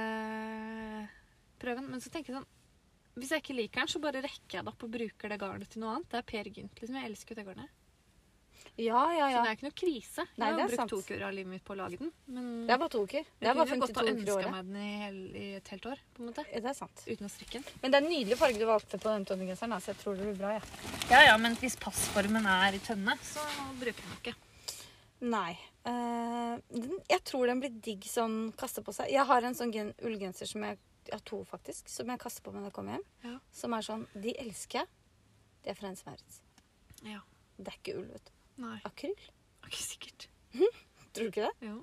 Speaker 1: prøve den. Men så tenker jeg sånn Hvis jeg ikke liker den, så bare rekker jeg det opp og bruker det garnet til noe annet. Det er Per Gynt. liksom. Jeg elsker jo det garnet.
Speaker 2: Ja, ja,
Speaker 1: Så det
Speaker 2: ja.
Speaker 1: er ikke noe krise. Jeg
Speaker 2: Nei,
Speaker 1: har
Speaker 2: det er
Speaker 1: brukt
Speaker 2: sant.
Speaker 1: to uker av livet mitt på å lage den. Men
Speaker 2: Det er bare to uker. Det er
Speaker 1: jeg
Speaker 2: bare
Speaker 1: kunne jo gått
Speaker 2: 52
Speaker 1: og
Speaker 2: uker i
Speaker 1: ønska
Speaker 2: året.
Speaker 1: meg den i, hel- i et helt år, på en måte.
Speaker 2: Ja, det er sant.
Speaker 1: Uten å strikke den.
Speaker 2: Men det er en nydelig farge du valgte på den tønnegenseren, da, så jeg tror det blir bra. Ja.
Speaker 1: Ja, ja, men hvis passformen er i tønne, så bruker den ikke.
Speaker 2: Nei. Eh, den, jeg tror den blir digg sånn kaste på seg. Jeg har en sånn gen, ullgenser som jeg jeg har to faktisk, som jeg kaster på meg når jeg kommer hjem.
Speaker 1: Ja.
Speaker 2: Som er sånn De elsker jeg. Det er fra Hennes Maurits.
Speaker 1: Ja.
Speaker 2: Det er ikke ull, vet du.
Speaker 1: Nei,
Speaker 2: Akryl.
Speaker 1: ikke sikkert.
Speaker 2: Tror du ikke det?
Speaker 1: Jo.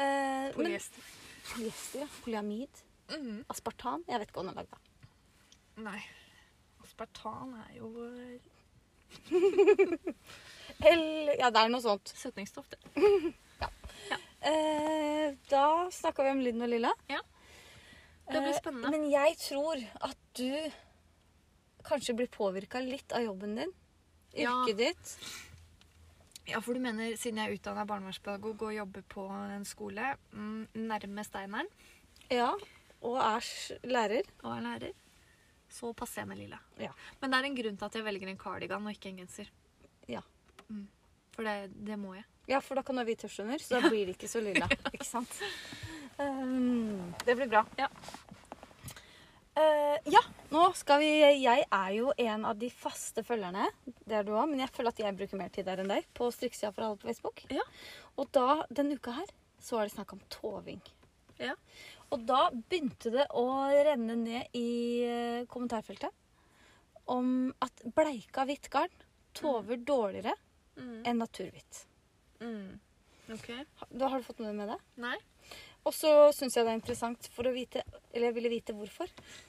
Speaker 2: Eh, men,
Speaker 1: Polyester.
Speaker 2: polyester, ja. Polyamid.
Speaker 1: Mhm.
Speaker 2: Aspartan. Jeg vet ikke hva den er lagd av.
Speaker 1: Nei. Aspartan er jo eh,
Speaker 2: Eller Ja, det er noe sånt.
Speaker 1: søtningsstoff, det.
Speaker 2: Eh, da snakka vi om Linn og Lilla.
Speaker 1: Ja. Det blir
Speaker 2: Eh,
Speaker 1: spennende.
Speaker 2: men jeg tror at du kanskje blir påvirka litt av jobben din.
Speaker 1: Ja.
Speaker 2: Yrket ditt.
Speaker 1: Ja, for du mener siden jeg er utdanna barnevernspedagog og jobber på en skole mm, nærme Steineren
Speaker 2: Ja. Og er s- lærer.
Speaker 1: og er lærer, så passer jeg med lilla.
Speaker 2: Ja.
Speaker 1: Men det er en grunn til at jeg velger en cardigan og ikke en genser.
Speaker 2: Ja.
Speaker 1: Mm. For det, det må jeg.
Speaker 2: Ja, for da kan du ha hvit tusj under, så da blir det ikke så lilla. Ikke sant? Ehm, det blir bra.
Speaker 1: Ja.
Speaker 2: Eh, ja, nå skal vi Jeg er jo en av de faste følgerne. Det er du òg, men jeg føler at jeg bruker mer tid der enn deg. På strikkesida for alle på Facebook.
Speaker 1: Ja.
Speaker 2: Og da, denne uka her, så var det snakk om toving.
Speaker 1: Ja.
Speaker 2: Og da begynte det å renne ned i eh, kommentarfeltet om at bleika hvitt garn tover dårligere enn naturhvitt.
Speaker 1: Mm. OK.
Speaker 2: Ha- Da har du fått noe med det?
Speaker 1: Nei?
Speaker 2: Og så syns jeg det er interessant, for å vite, eller jeg ville vite hvorfor.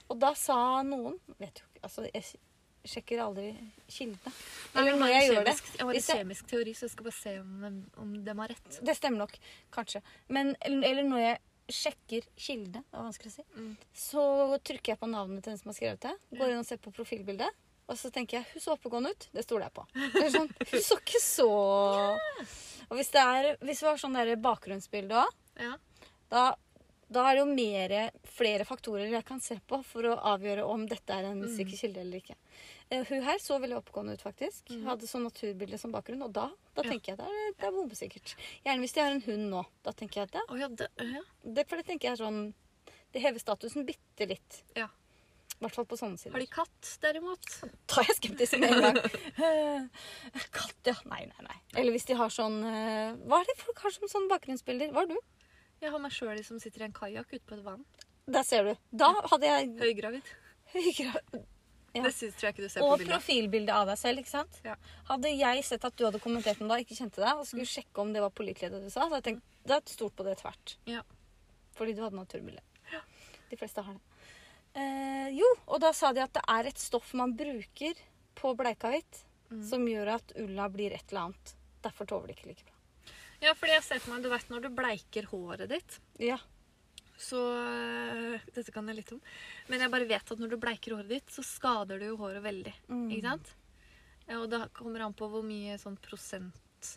Speaker 2: Og da sa noen Vet jo ikke, altså jeg sj- sjekker aldri kildene. Eller når jeg gjør det.
Speaker 1: Jeg har
Speaker 2: Hvis
Speaker 1: litt
Speaker 2: jeg-
Speaker 1: kjemisk teori, så jeg skal bare se om de, om dem har rett.
Speaker 2: Det stemmer nok, kanskje. Men, eller eller når jeg sjekker kildene, det var vanskelig å si,
Speaker 1: Mm.
Speaker 2: så trykker jeg på navnet til den som har skrevet det. Går inn og ser på profilbildet. Og så tenker jeg 'hun så oppegående ut'. Det stoler jeg på. Det er sånn, hun så ikke så Og hvis det, er, hvis det var sånn der bakgrunnsbilde òg,
Speaker 1: Ja.
Speaker 2: da, da er det jo mere, flere faktorer jeg kan se på for å avgjøre om dette er en
Speaker 1: Mm.
Speaker 2: sikker kilde eller ikke. Eh, hun her så veldig oppegående ut, faktisk.
Speaker 1: Mm.
Speaker 2: Hadde sånn naturbilde som bakgrunn. Og da, da
Speaker 1: Ja.
Speaker 2: tenker jeg det er, det er bombesikkert. Gjerne hvis de har en hund nå. Da tenker jeg at det,
Speaker 1: Å ja, det, ja.
Speaker 2: det, for det tenker jeg er sånn Det hever statusen bitte litt.
Speaker 1: Ja.
Speaker 2: I hvert fall på sånne sider.
Speaker 1: Har de katt, derimot?
Speaker 2: Da er jeg skeptisk med en gang. Eh, Katt, ja. Nei, nei, nei. Eller hvis de har sånn eh, Hva er det folk har som sånne bakgrunnsbilder? Hva har du?
Speaker 1: Jeg har meg sjøl som sitter i en kajakk ute på et vann.
Speaker 2: Der ser du. Da hadde jeg
Speaker 1: Høygravid.
Speaker 2: høygra... Ja.
Speaker 1: Det syns tror jeg ikke du ser på
Speaker 2: Og
Speaker 1: bildet.
Speaker 2: profilbilde av deg selv. ikke sant?
Speaker 1: Ja.
Speaker 2: Hadde jeg sett at du hadde kommentert noe da, ikke kjente deg, og skulle sjekke om det var pålitelig, det du sa, så hadde jeg tenkt det er stort på det tvert.
Speaker 1: Ja.
Speaker 2: Fordi du hadde naturbilde. De fleste har det. Eh, jo, og da sa de at det er et stoff man bruker på bleika hvitt
Speaker 1: Mm.
Speaker 2: som gjør at ulla blir et eller annet. Derfor tover det ikke like bra.
Speaker 1: Ja, fordi jeg ser for meg, du vet når du bleiker håret ditt
Speaker 2: Ja.
Speaker 1: Så øh, Dette kan jeg litt om. Men jeg bare vet at når du bleiker håret ditt, så skader du jo håret veldig.
Speaker 2: Mm.
Speaker 1: Ikke sant? Ja, Og det kommer an på hvor mye sånn prosent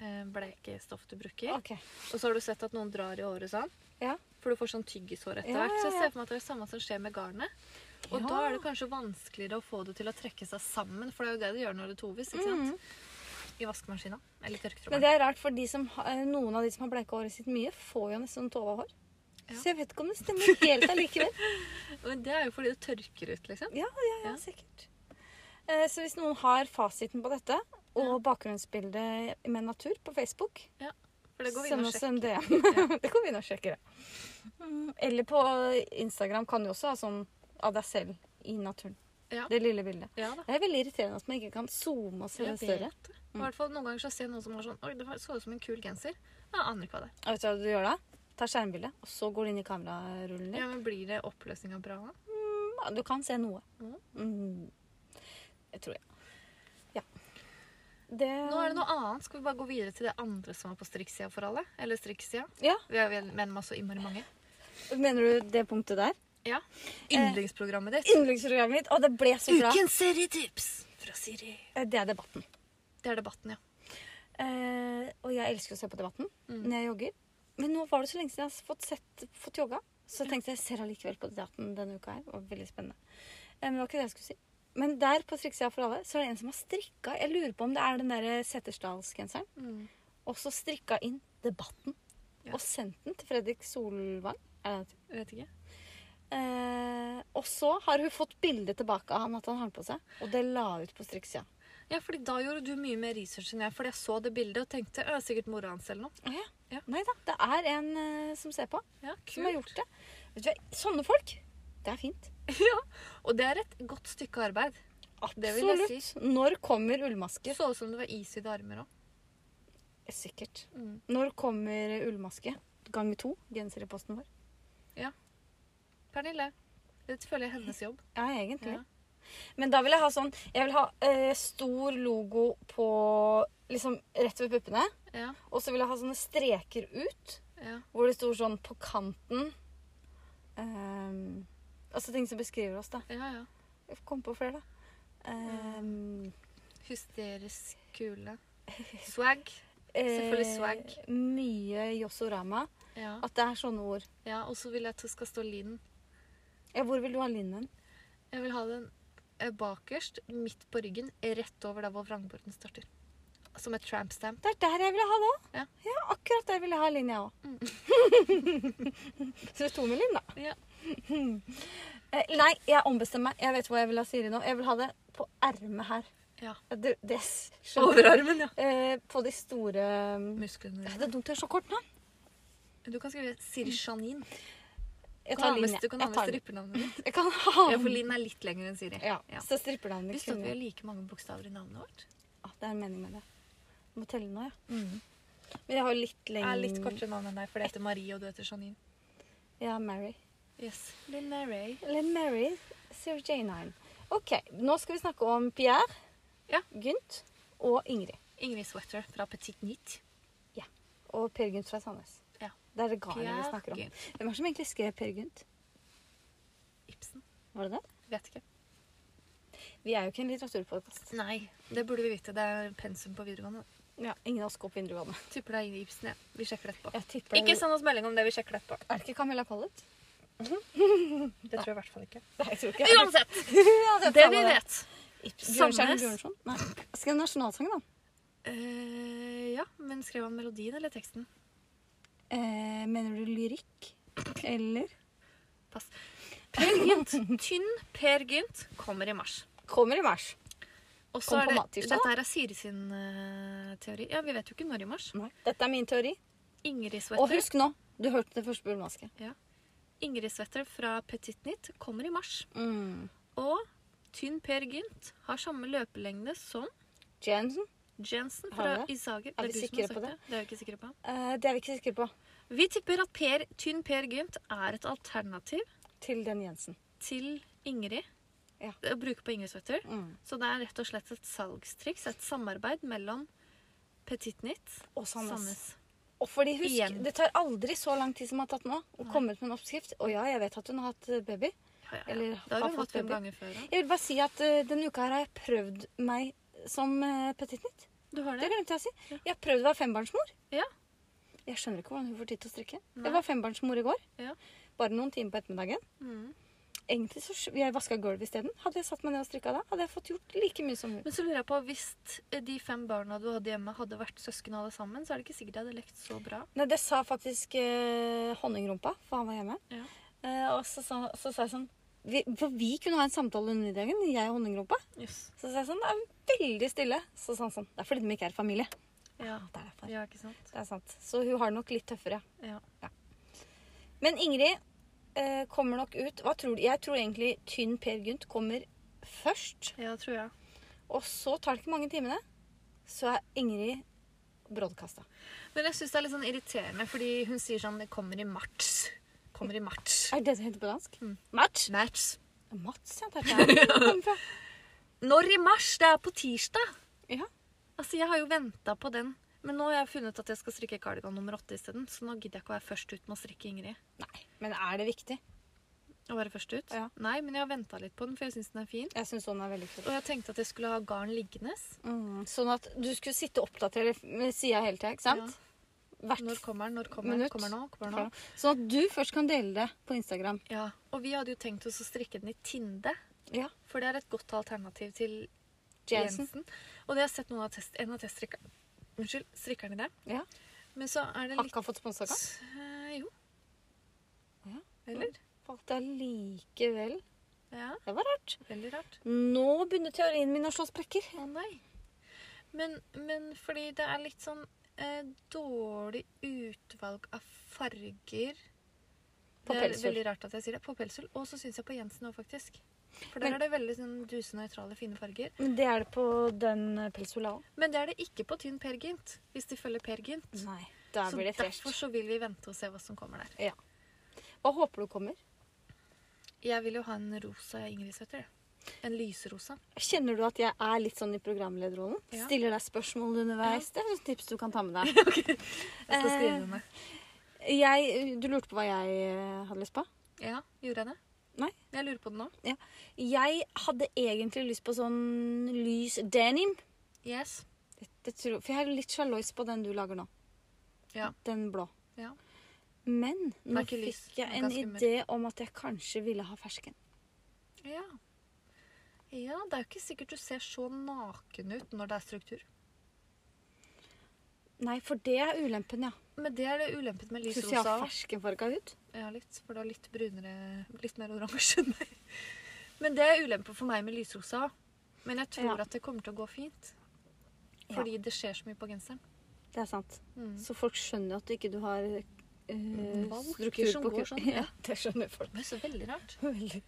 Speaker 1: eh, bleikestoff du bruker.
Speaker 2: Ok.
Speaker 1: Og så har du sett at noen drar i håret sånn.
Speaker 2: Ja.
Speaker 1: For du får sånn tyggishår etter
Speaker 2: Ja,
Speaker 1: hvert. Så jeg
Speaker 2: ja, ja.
Speaker 1: ser for meg at det er det samme som skjer med garnet. Og
Speaker 2: Ja.
Speaker 1: da er det kanskje vanskeligere å få det til å trekke seg sammen, for det er jo det det gjør når det toves. ikke sant?
Speaker 2: Mm.
Speaker 1: I vaskemaskina. Eller
Speaker 2: Men
Speaker 1: tørketrommelen.
Speaker 2: det er rart, for de som har, eh, noen av de som har bleika håret sitt mye, får jo nesten tova hår.
Speaker 1: Ja.
Speaker 2: Så jeg vet ikke om det stemmer helt allikevel.
Speaker 1: Men det er jo fordi det tørker ut, liksom.
Speaker 2: Ja, ja, ja,
Speaker 1: Ja.
Speaker 2: sikkert. Eh, Så hvis noen har fasiten på dette, og
Speaker 1: Ja.
Speaker 2: bakgrunnsbildet med natur på Facebook,
Speaker 1: For det går vi inn
Speaker 2: send
Speaker 1: og
Speaker 2: oss
Speaker 1: sjekker.
Speaker 2: en DM. det går vi inn og sjekker. det. Mm, Eller på Instagram kan du også ha sånn av deg selv i naturen.
Speaker 1: Ja.
Speaker 2: Det lille bildet.
Speaker 1: Ja da.
Speaker 2: Det er veldig irriterende at man ikke kan zoome og se det
Speaker 1: Jeg
Speaker 2: større. Mm.
Speaker 1: vet det. I hvert fall Noen ganger så ser jeg noen som har sånn Oi, det var- så ut som en kul genser. Jeg aner ikke hva det er.
Speaker 2: Og Vet du hva du gjør da? Tar skjermbildet, og så går du inn i kamerarullen din.
Speaker 1: Ja, men Blir det oppløsninga bra da?
Speaker 2: Ja, Du kan se noe.
Speaker 1: Mhm.
Speaker 2: Mm. Jeg tror jeg. Ja. Det...
Speaker 1: Nå er det noe annet. Skal vi bare gå videre til det andre som er på strikksida for alle? Eller strikksida?
Speaker 2: Ja,
Speaker 1: Vi er vel med så innmari mange.
Speaker 2: Mener du det punktet der?
Speaker 1: Ja.
Speaker 2: Eh,
Speaker 1: Yndlingsprogrammet ditt.
Speaker 2: Yndlingsprogrammet mitt. Å, det ble så bra.
Speaker 1: Ukens serietips fra Siri.
Speaker 2: Eh, Det er debatten.
Speaker 1: Det er debatten, ja.
Speaker 2: Eh, og jeg elsker å se på debatten
Speaker 1: Mm.
Speaker 2: når jeg jogger. Men nå var det så lenge siden jeg har fått, sett, fått jogga. Så jeg tenkte jeg ser allikevel på debatten denne uka her. Det var veldig spennende. Eh, men det var ikke det jeg skulle si. Men der på Strikkesida for alle så er det en som har strikka Jeg lurer på om det er den der Setesdalsgenseren.
Speaker 1: Mm.
Speaker 2: Og så strikka inn debatten.
Speaker 1: Ja.
Speaker 2: Og sendt den til Fredrik Solvang. Er det det?
Speaker 1: Jeg Vet ikke.
Speaker 2: Eh, og så har hun fått bilde tilbake av han at han har den på seg. Og det la hun ut på strikkesida.
Speaker 1: Ja, fordi Da gjorde du mye mer research enn jeg, fordi jeg så det bildet og tenkte «Å, det er sikkert mora hans eller noe.
Speaker 2: Ja.
Speaker 1: Ja.
Speaker 2: Nei da, det er en eh, som ser på,
Speaker 1: Ja,
Speaker 2: som har gjort det. Vet du hva, Sånne folk, det er fint.
Speaker 1: Ja. Og det er et godt stykke arbeid. Det vil jeg
Speaker 2: Absolutt. Når kommer ullmaske?
Speaker 1: Det så ut som det var isydde armer òg.
Speaker 2: Sikkert.
Speaker 1: Mm.
Speaker 2: Når kommer ullmaske? Ganger to. Genser i posten vår.
Speaker 1: Pernille, det føler jeg er hennes jobb.
Speaker 2: Ja, egentlig.
Speaker 1: Ja.
Speaker 2: Men da vil jeg ha sånn Jeg vil ha eh, stor logo på Liksom rett ved puppene.
Speaker 1: Ja,
Speaker 2: Og så vil jeg ha sånne streker ut.
Speaker 1: ja.
Speaker 2: Hvor det står sånn på kanten ehm, Altså ting som beskriver oss, da.
Speaker 1: Ja, ja.
Speaker 2: Jeg kom på flere, da. Ehm,
Speaker 1: Hysterisk kule. Swag. Selvfølgelig swag.
Speaker 2: Eh, mye Yosorama.
Speaker 1: Ja.
Speaker 2: At det er sånne ord.
Speaker 1: ja og så vil jeg at det skal stå Linn.
Speaker 2: Ja, hvor vil du ha linnen?
Speaker 1: Jeg vil ha den eh, bakerst, midt på ryggen, rett over der hvor vrangborten starter. Som et tramp stamp.
Speaker 2: Det er der jeg ville ha det òg.
Speaker 1: Ja. Mm.
Speaker 2: akkurat der vil jeg ha linn, jeg òg. Så det er to med linn, da.
Speaker 1: Ja.
Speaker 2: Eh, nei, jeg ombestemmer meg. Jeg vet hva jeg vil ha Siri nå. Jeg vil ha det på ermet her.
Speaker 1: Ja.
Speaker 2: Det, det s-
Speaker 1: Overarmen, ja.
Speaker 2: Eh, på de store
Speaker 1: Musklene. Mm.
Speaker 2: Ja, Det er dumt å gjøre så kort navn.
Speaker 1: Du kan skrive Sirjanin.
Speaker 2: Jeg tar linn, jeg.
Speaker 1: Du kan ha
Speaker 2: Jeg
Speaker 1: med
Speaker 2: tar linn.
Speaker 1: strippernavnet ditt.
Speaker 2: Jeg kan ha
Speaker 1: Ja, for Linn er litt lenger enn Siri.
Speaker 2: Ja,
Speaker 1: Ja.
Speaker 2: Så strippernavnet
Speaker 1: Visste du at vi
Speaker 2: kunne
Speaker 1: har like mange bokstaver i navnet vårt?
Speaker 2: ah, Det er en mening med det. Jeg må telle nå, ja. Men jeg har jo litt
Speaker 1: Jeg Mm.
Speaker 2: lengre
Speaker 1: er litt kortere navn enn deg, for det heter Marie, og du heter Janine.
Speaker 2: Ja, Mary.
Speaker 1: Yes. Linn Mary.
Speaker 2: Eller Mary Sir J9. OK, nå skal vi snakke om Pierre,
Speaker 1: Ja.
Speaker 2: Gynt og Ingrid.
Speaker 1: Ingrid Sweater fra Petit Nit.
Speaker 2: Og Per Gynt fra Sandnes.
Speaker 1: Ja.
Speaker 2: Det er det garnet vi
Speaker 1: Pierre
Speaker 2: snakker om.
Speaker 1: Gynt.
Speaker 2: Hvem er det som egentlig skrev Per Gynt?
Speaker 1: Ibsen.
Speaker 2: Var det det?
Speaker 1: Vet ikke.
Speaker 2: Vi er jo ikke en litteraturpodkast.
Speaker 1: Nei, det burde vi vite. Det er pensum på videregående.
Speaker 2: Ja, ingen av oss går på videregående.
Speaker 1: Tipper det er Ingrid Ibsen, ja. Vi sjekker det etterpå.
Speaker 2: Jeg tipper
Speaker 1: Ikke send oss melding om det, vi sjekker det etterpå.
Speaker 2: Er det ikke Camilla Collett?
Speaker 1: Det tror jeg i hvert fall ikke.
Speaker 2: Nei, jeg tror ikke
Speaker 1: Uansett!
Speaker 2: Uansett,
Speaker 1: Det vi
Speaker 2: samme
Speaker 1: vet.
Speaker 2: Bjørnstjerne
Speaker 1: Sandnes.
Speaker 2: Bjørnson? Nei. Skrev nasjonalsangen, da.
Speaker 1: Eh, ja, men skrev han melodien eller teksten?
Speaker 2: Eh, mener du lyrikk? Eller
Speaker 1: Pass. Per Gynt. Tynn Per Gynt kommer i mars.
Speaker 2: Kommer i mars.
Speaker 1: Og så
Speaker 2: Kom
Speaker 1: er
Speaker 2: på
Speaker 1: det,
Speaker 2: mattirsdag, da.
Speaker 1: dette her er Siri sin eh, teori. Ja, Vi vet jo ikke når i mars.
Speaker 2: Dette er min teori.
Speaker 1: Ingrid
Speaker 2: Og
Speaker 1: Sweater,
Speaker 2: husk nå, du hørte det første på Ullmaske.
Speaker 1: Ingrid Sweater fra Petit Nit kommer i mars.
Speaker 2: Mm.
Speaker 1: Og Tynn Per Gynt har samme løpelengde som
Speaker 2: Jensen?
Speaker 1: Jensen
Speaker 2: Har
Speaker 1: fra
Speaker 2: det?
Speaker 1: Isager.
Speaker 2: Er
Speaker 1: Det du
Speaker 2: vi
Speaker 1: som har
Speaker 2: sikre
Speaker 1: sagt
Speaker 2: på det?
Speaker 1: Det er vi ikke sikre på.
Speaker 2: Eh, det er vi ikke sikre på.
Speaker 1: Vi tipper at per, Tynn Per Gynt er et alternativ
Speaker 2: Til den Jensen.
Speaker 1: til Ingrid.
Speaker 2: Ja.
Speaker 1: Å bruke på Ingrid Sweater.
Speaker 2: Mm.
Speaker 1: Så det er rett og slett et salgstriks, et samarbeid mellom Petit Nit
Speaker 2: Og Sandnes.
Speaker 1: Sandnes.
Speaker 2: Og fordi husk,
Speaker 1: Igjen.
Speaker 2: det tar aldri så lang tid som det har tatt nå å komme ut med en oppskrift. Og ja, jeg vet at hun har hatt eh, baby.
Speaker 1: Ja, ja, ja.
Speaker 2: Eller
Speaker 1: Da
Speaker 2: har
Speaker 1: har hun
Speaker 2: fått
Speaker 1: hatt fem
Speaker 2: baby.
Speaker 1: ganger før. Da.
Speaker 2: Jeg vil bare si at eh, denne uka her har jeg prøvd meg som uh, petit nytt.
Speaker 1: Du har
Speaker 2: Det
Speaker 1: det?
Speaker 2: glemte jeg å si. Jeg har prøvd å være fembarnsmor.
Speaker 1: Ja.
Speaker 2: Jeg skjønner ikke hvordan hun får tid til å strikke.
Speaker 1: Nei.
Speaker 2: Jeg var fembarnsmor i går.
Speaker 1: Ja.
Speaker 2: Bare noen timer på ettermiddagen.
Speaker 1: Mm.
Speaker 2: Egentlig så sk- jeg vaska gulvet isteden. Hadde jeg satt meg ned og strikka da, hadde jeg fått gjort like mye som hun.
Speaker 1: Men så lurer jeg på, hvis eh, de fem barna du hadde hjemme, hadde vært søsken alle sammen, så er det ikke sikkert de hadde lekt så bra.
Speaker 2: Nei, det sa faktisk eh, honningrumpa, for han var hjemme.
Speaker 1: Ja.
Speaker 2: Eh, og så sa, så sa jeg sånn vi, For vi kunne ha en samtale under middagen, jeg og honningrumpa. Så sa jeg sånn Det er veldig stille. Så sa han sånn Det er fordi de ikke er familie.
Speaker 1: Ja.
Speaker 2: Det er derfor.
Speaker 1: ja, ikke sant?
Speaker 2: Det er sant. Så hun har det nok litt tøffere.
Speaker 1: Ja.
Speaker 2: Men Ingrid eh, kommer nok ut Hva tror du? Jeg tror egentlig tynn Per Gynt kommer først.
Speaker 1: ja, tror jeg.
Speaker 2: Og så tar det ikke mange timene, så er Ingrid broadcasta.
Speaker 1: Men jeg syns det er litt sånn irriterende, fordi hun sier sånn Det kommer i mars. Kommer i mars.
Speaker 2: Er det det som heter på dansk?
Speaker 1: Mm.
Speaker 2: Match?
Speaker 1: Mars.
Speaker 2: Mats, ja. Der er det kom fra.
Speaker 1: Når i mars? Det er på tirsdag.
Speaker 2: Ja.
Speaker 1: Altså, jeg har jo venta på den. Men nå har jeg funnet at jeg skal strikke kardigan nummer åtte isteden, så nå gidder jeg ikke å være først ut med å strikke Ingrid.
Speaker 2: Nei, men er det viktig?
Speaker 1: Å være først ut?
Speaker 2: Ja.
Speaker 1: Nei, men jeg har venta litt på den, for jeg syns den er fin.
Speaker 2: Jeg syns sånn er veldig kul.
Speaker 1: Og jeg tenkte at jeg skulle ha garn liggende.
Speaker 2: Mm. Sånn at du skulle sitte og oppdatere med sida hele tida, ikke sant? Hvert
Speaker 1: Når kommer den? Når kommer den?
Speaker 2: Minutt.
Speaker 1: Kommer nå? Kommer nå?
Speaker 2: Ja. Sånn at du først kan dele det på Instagram.
Speaker 1: Ja, og vi hadde jo tenkt oss å strikke den i Tinde,
Speaker 2: Ja.
Speaker 1: for det er et godt alternativ til
Speaker 2: Jensen.
Speaker 1: Jensen. Og det har jeg sett noen av test, en av teststrikkerne Unnskyld, strikkerne der.
Speaker 2: Ja.
Speaker 1: Men så er det
Speaker 2: Har
Speaker 1: litt
Speaker 2: ikke han fått sponsa, kan?
Speaker 1: Eh, Jo.
Speaker 2: Ja.
Speaker 1: Eller?
Speaker 2: Falt allikevel.
Speaker 1: Ja.
Speaker 2: Det var rart.
Speaker 1: Veldig rart.
Speaker 2: Nå begynner teorien min å slå sprekker.
Speaker 1: Å nei. Men, men fordi det er litt sånn eh, dårlig utvalg av farger
Speaker 2: På
Speaker 1: Det er
Speaker 2: pelsull.
Speaker 1: veldig rart at jeg sier det. På pelsull. Og så syns jeg på Jensen òg, faktisk. For der
Speaker 2: Men-
Speaker 1: er det veldig sånn, duse, nøytrale, fine farger.
Speaker 2: Men det er det på den eh, pelsola òg.
Speaker 1: Men det er det ikke på tynn Per Gynt, hvis de følger Per Gynt.
Speaker 2: Nei. Da
Speaker 1: Så
Speaker 2: blir det
Speaker 1: derfor
Speaker 2: fresh.
Speaker 1: så vil vi vente og se hva som kommer der.
Speaker 2: Hva håper du kommer?
Speaker 1: Jeg vil jo ha en rosa Ingrid Søtter. En lyserosa.
Speaker 2: Kjenner du at jeg er litt sånn i programlederrollen?
Speaker 1: Ja.
Speaker 2: Stiller deg spørsmål underveis? Det er et tips du kan ta med deg.
Speaker 1: Jeg skal skrive
Speaker 2: Eh.
Speaker 1: den ned.
Speaker 2: Jeg, du lurte på hva jeg eh, hadde lyst på?
Speaker 1: Ja, gjorde jeg det?
Speaker 2: Nei.
Speaker 1: Jeg lurer på det nå.
Speaker 2: Jeg hadde egentlig lyst på sånn lys denim.
Speaker 1: Yes.
Speaker 2: Det, det tror, for jeg er litt sjaløys på den du lager nå.
Speaker 1: Ja.
Speaker 2: Den blå.
Speaker 1: Ja.
Speaker 2: Men nå
Speaker 1: ikke lys.
Speaker 2: fikk jeg
Speaker 1: Den er
Speaker 2: en
Speaker 1: ganske mørk.
Speaker 2: idé om at jeg kanskje ville ha fersken.
Speaker 1: Ja. ja, det er jo ikke sikkert du ser så naken ut når det er struktur.
Speaker 2: Nei, for det er ulempen, ja.
Speaker 1: Men det er det ulempen med lys
Speaker 2: Syns jeg
Speaker 1: rosa.
Speaker 2: har ferskenfarga hud.
Speaker 1: Ja, litt, for det er litt brunere, litt mer oransje enn meg. Men det er ulempen for meg med lysrosa. Men jeg tror
Speaker 2: Ja.
Speaker 1: at det kommer til å gå fint.
Speaker 2: Ja.
Speaker 1: Fordi det skjer så mye på genseren.
Speaker 2: Det er sant.
Speaker 1: Mm.
Speaker 2: Så folk skjønner jo at ikke du har eh, Mm,
Speaker 1: Valker
Speaker 2: struktur
Speaker 1: som
Speaker 2: på
Speaker 1: går
Speaker 2: kroppen.
Speaker 1: sånn, ja.
Speaker 2: Ja, det skjønner folk.
Speaker 1: Det er så veldig rart.
Speaker 2: Veldig.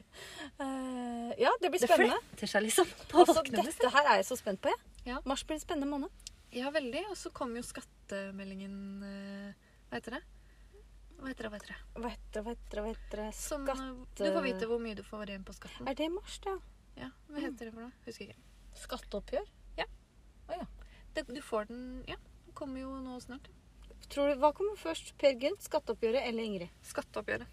Speaker 2: Eh, ja, det blir spennende.
Speaker 1: fletter seg liksom
Speaker 2: Altså, dette her er jeg så spent på, jeg.
Speaker 1: Ja.
Speaker 2: Mars blir en spennende måned.
Speaker 1: Ja, veldig. Og så kom jo skattemeldingen eh, Hva heter det? Hva heter det, hva heter det?
Speaker 2: Vetre, vetre, vetre.
Speaker 1: Som,
Speaker 2: Skatt...
Speaker 1: eh, Du får vite hvor mye du får igjen på skatten.
Speaker 2: Er det mars, det?
Speaker 1: Ja, Hva heter det for noe? Husker ikke.
Speaker 2: Skatteoppgjør?
Speaker 1: Det, du får den Ja, den kommer jo nå snart.
Speaker 2: Tror du, hva kommer først? Per Gynt, skatteoppgjøret eller Ingrid?
Speaker 1: Skatteoppgjøret.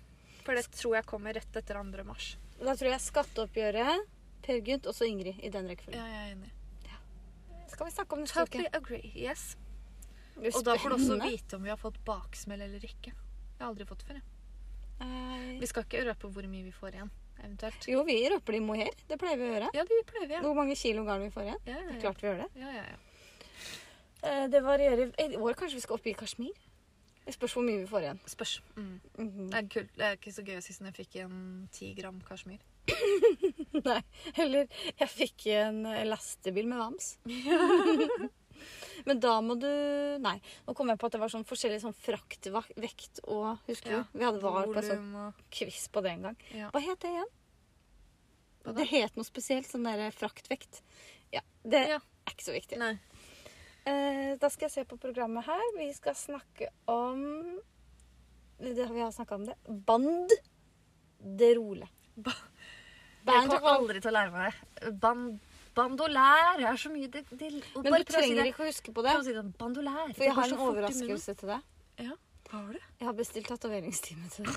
Speaker 1: For det tror jeg kommer rett etter 2. mars.
Speaker 2: Da tror jeg skatteoppgjøret, Per Gynt og så Ingrid i den
Speaker 1: Ja,
Speaker 2: rekkefølgen.
Speaker 1: jeg er enig.
Speaker 2: Skal vi snakke om neste
Speaker 1: Totally
Speaker 2: uke?
Speaker 1: agree. Yes. Og da får du også
Speaker 2: Spennende.
Speaker 1: vite om vi har fått baksmell eller ikke. Jeg har aldri fått før. jeg.
Speaker 2: Eh,
Speaker 1: Vi skal ikke røpe hvor mye vi får igjen, eventuelt.
Speaker 2: Jo, vi røper det i mohair. Det pleier vi å gjøre.
Speaker 1: Ja, det pleier vi. Ja.
Speaker 2: Hvor mange kilo garn vi får igjen.
Speaker 1: Ja,
Speaker 2: Det
Speaker 1: ja,
Speaker 2: er
Speaker 1: ja.
Speaker 2: klart vi gjør det.
Speaker 1: ja, ja, ja.
Speaker 2: Eh, Det varierer I år kanskje vi skal opp i Kashmir? Det spørs hvor mye vi får igjen.
Speaker 1: Spørs. Mm.
Speaker 2: Mhm.
Speaker 1: Det er kult. Det er ikke så gøy sist jeg fikk igjen ti gram kasjmir.
Speaker 2: Nei. Eller jeg fikk en eh, lastebil med vams. Men da må du Nei, nå kom jeg på at det var sånn forskjellig sånn fraktvekt og Husker
Speaker 1: Ja,
Speaker 2: du? Vi hadde var på en sånn
Speaker 1: Volum og
Speaker 2: quiz på det en gang.
Speaker 1: ja.
Speaker 2: Hva het det igjen?
Speaker 1: Hva da?
Speaker 2: Det het noe spesielt. Sånn derre fraktvekt. Ja. Det
Speaker 1: Ja.
Speaker 2: er ikke så viktig.
Speaker 1: Nei.
Speaker 2: Eh, da skal jeg se på programmet her. Vi skal snakke om det, Vi har snakka om det. Banderole.
Speaker 1: Ba- Jeg kommer
Speaker 2: Banderole.
Speaker 1: aldri til å lære meg det. Ban- bandolær Det er så mye det, det, og
Speaker 2: Men
Speaker 1: bare
Speaker 2: du
Speaker 1: prøv å si
Speaker 2: trenger
Speaker 1: det.
Speaker 2: ikke å huske på det.
Speaker 1: Prøv å si det. Bandolær.
Speaker 2: For
Speaker 1: Det
Speaker 2: jeg
Speaker 1: går
Speaker 2: har
Speaker 1: så
Speaker 2: en
Speaker 1: fort i munnen.
Speaker 2: overraskelse til deg.
Speaker 1: Ja, har du?
Speaker 2: Jeg har bestilt tatoveringstime til deg.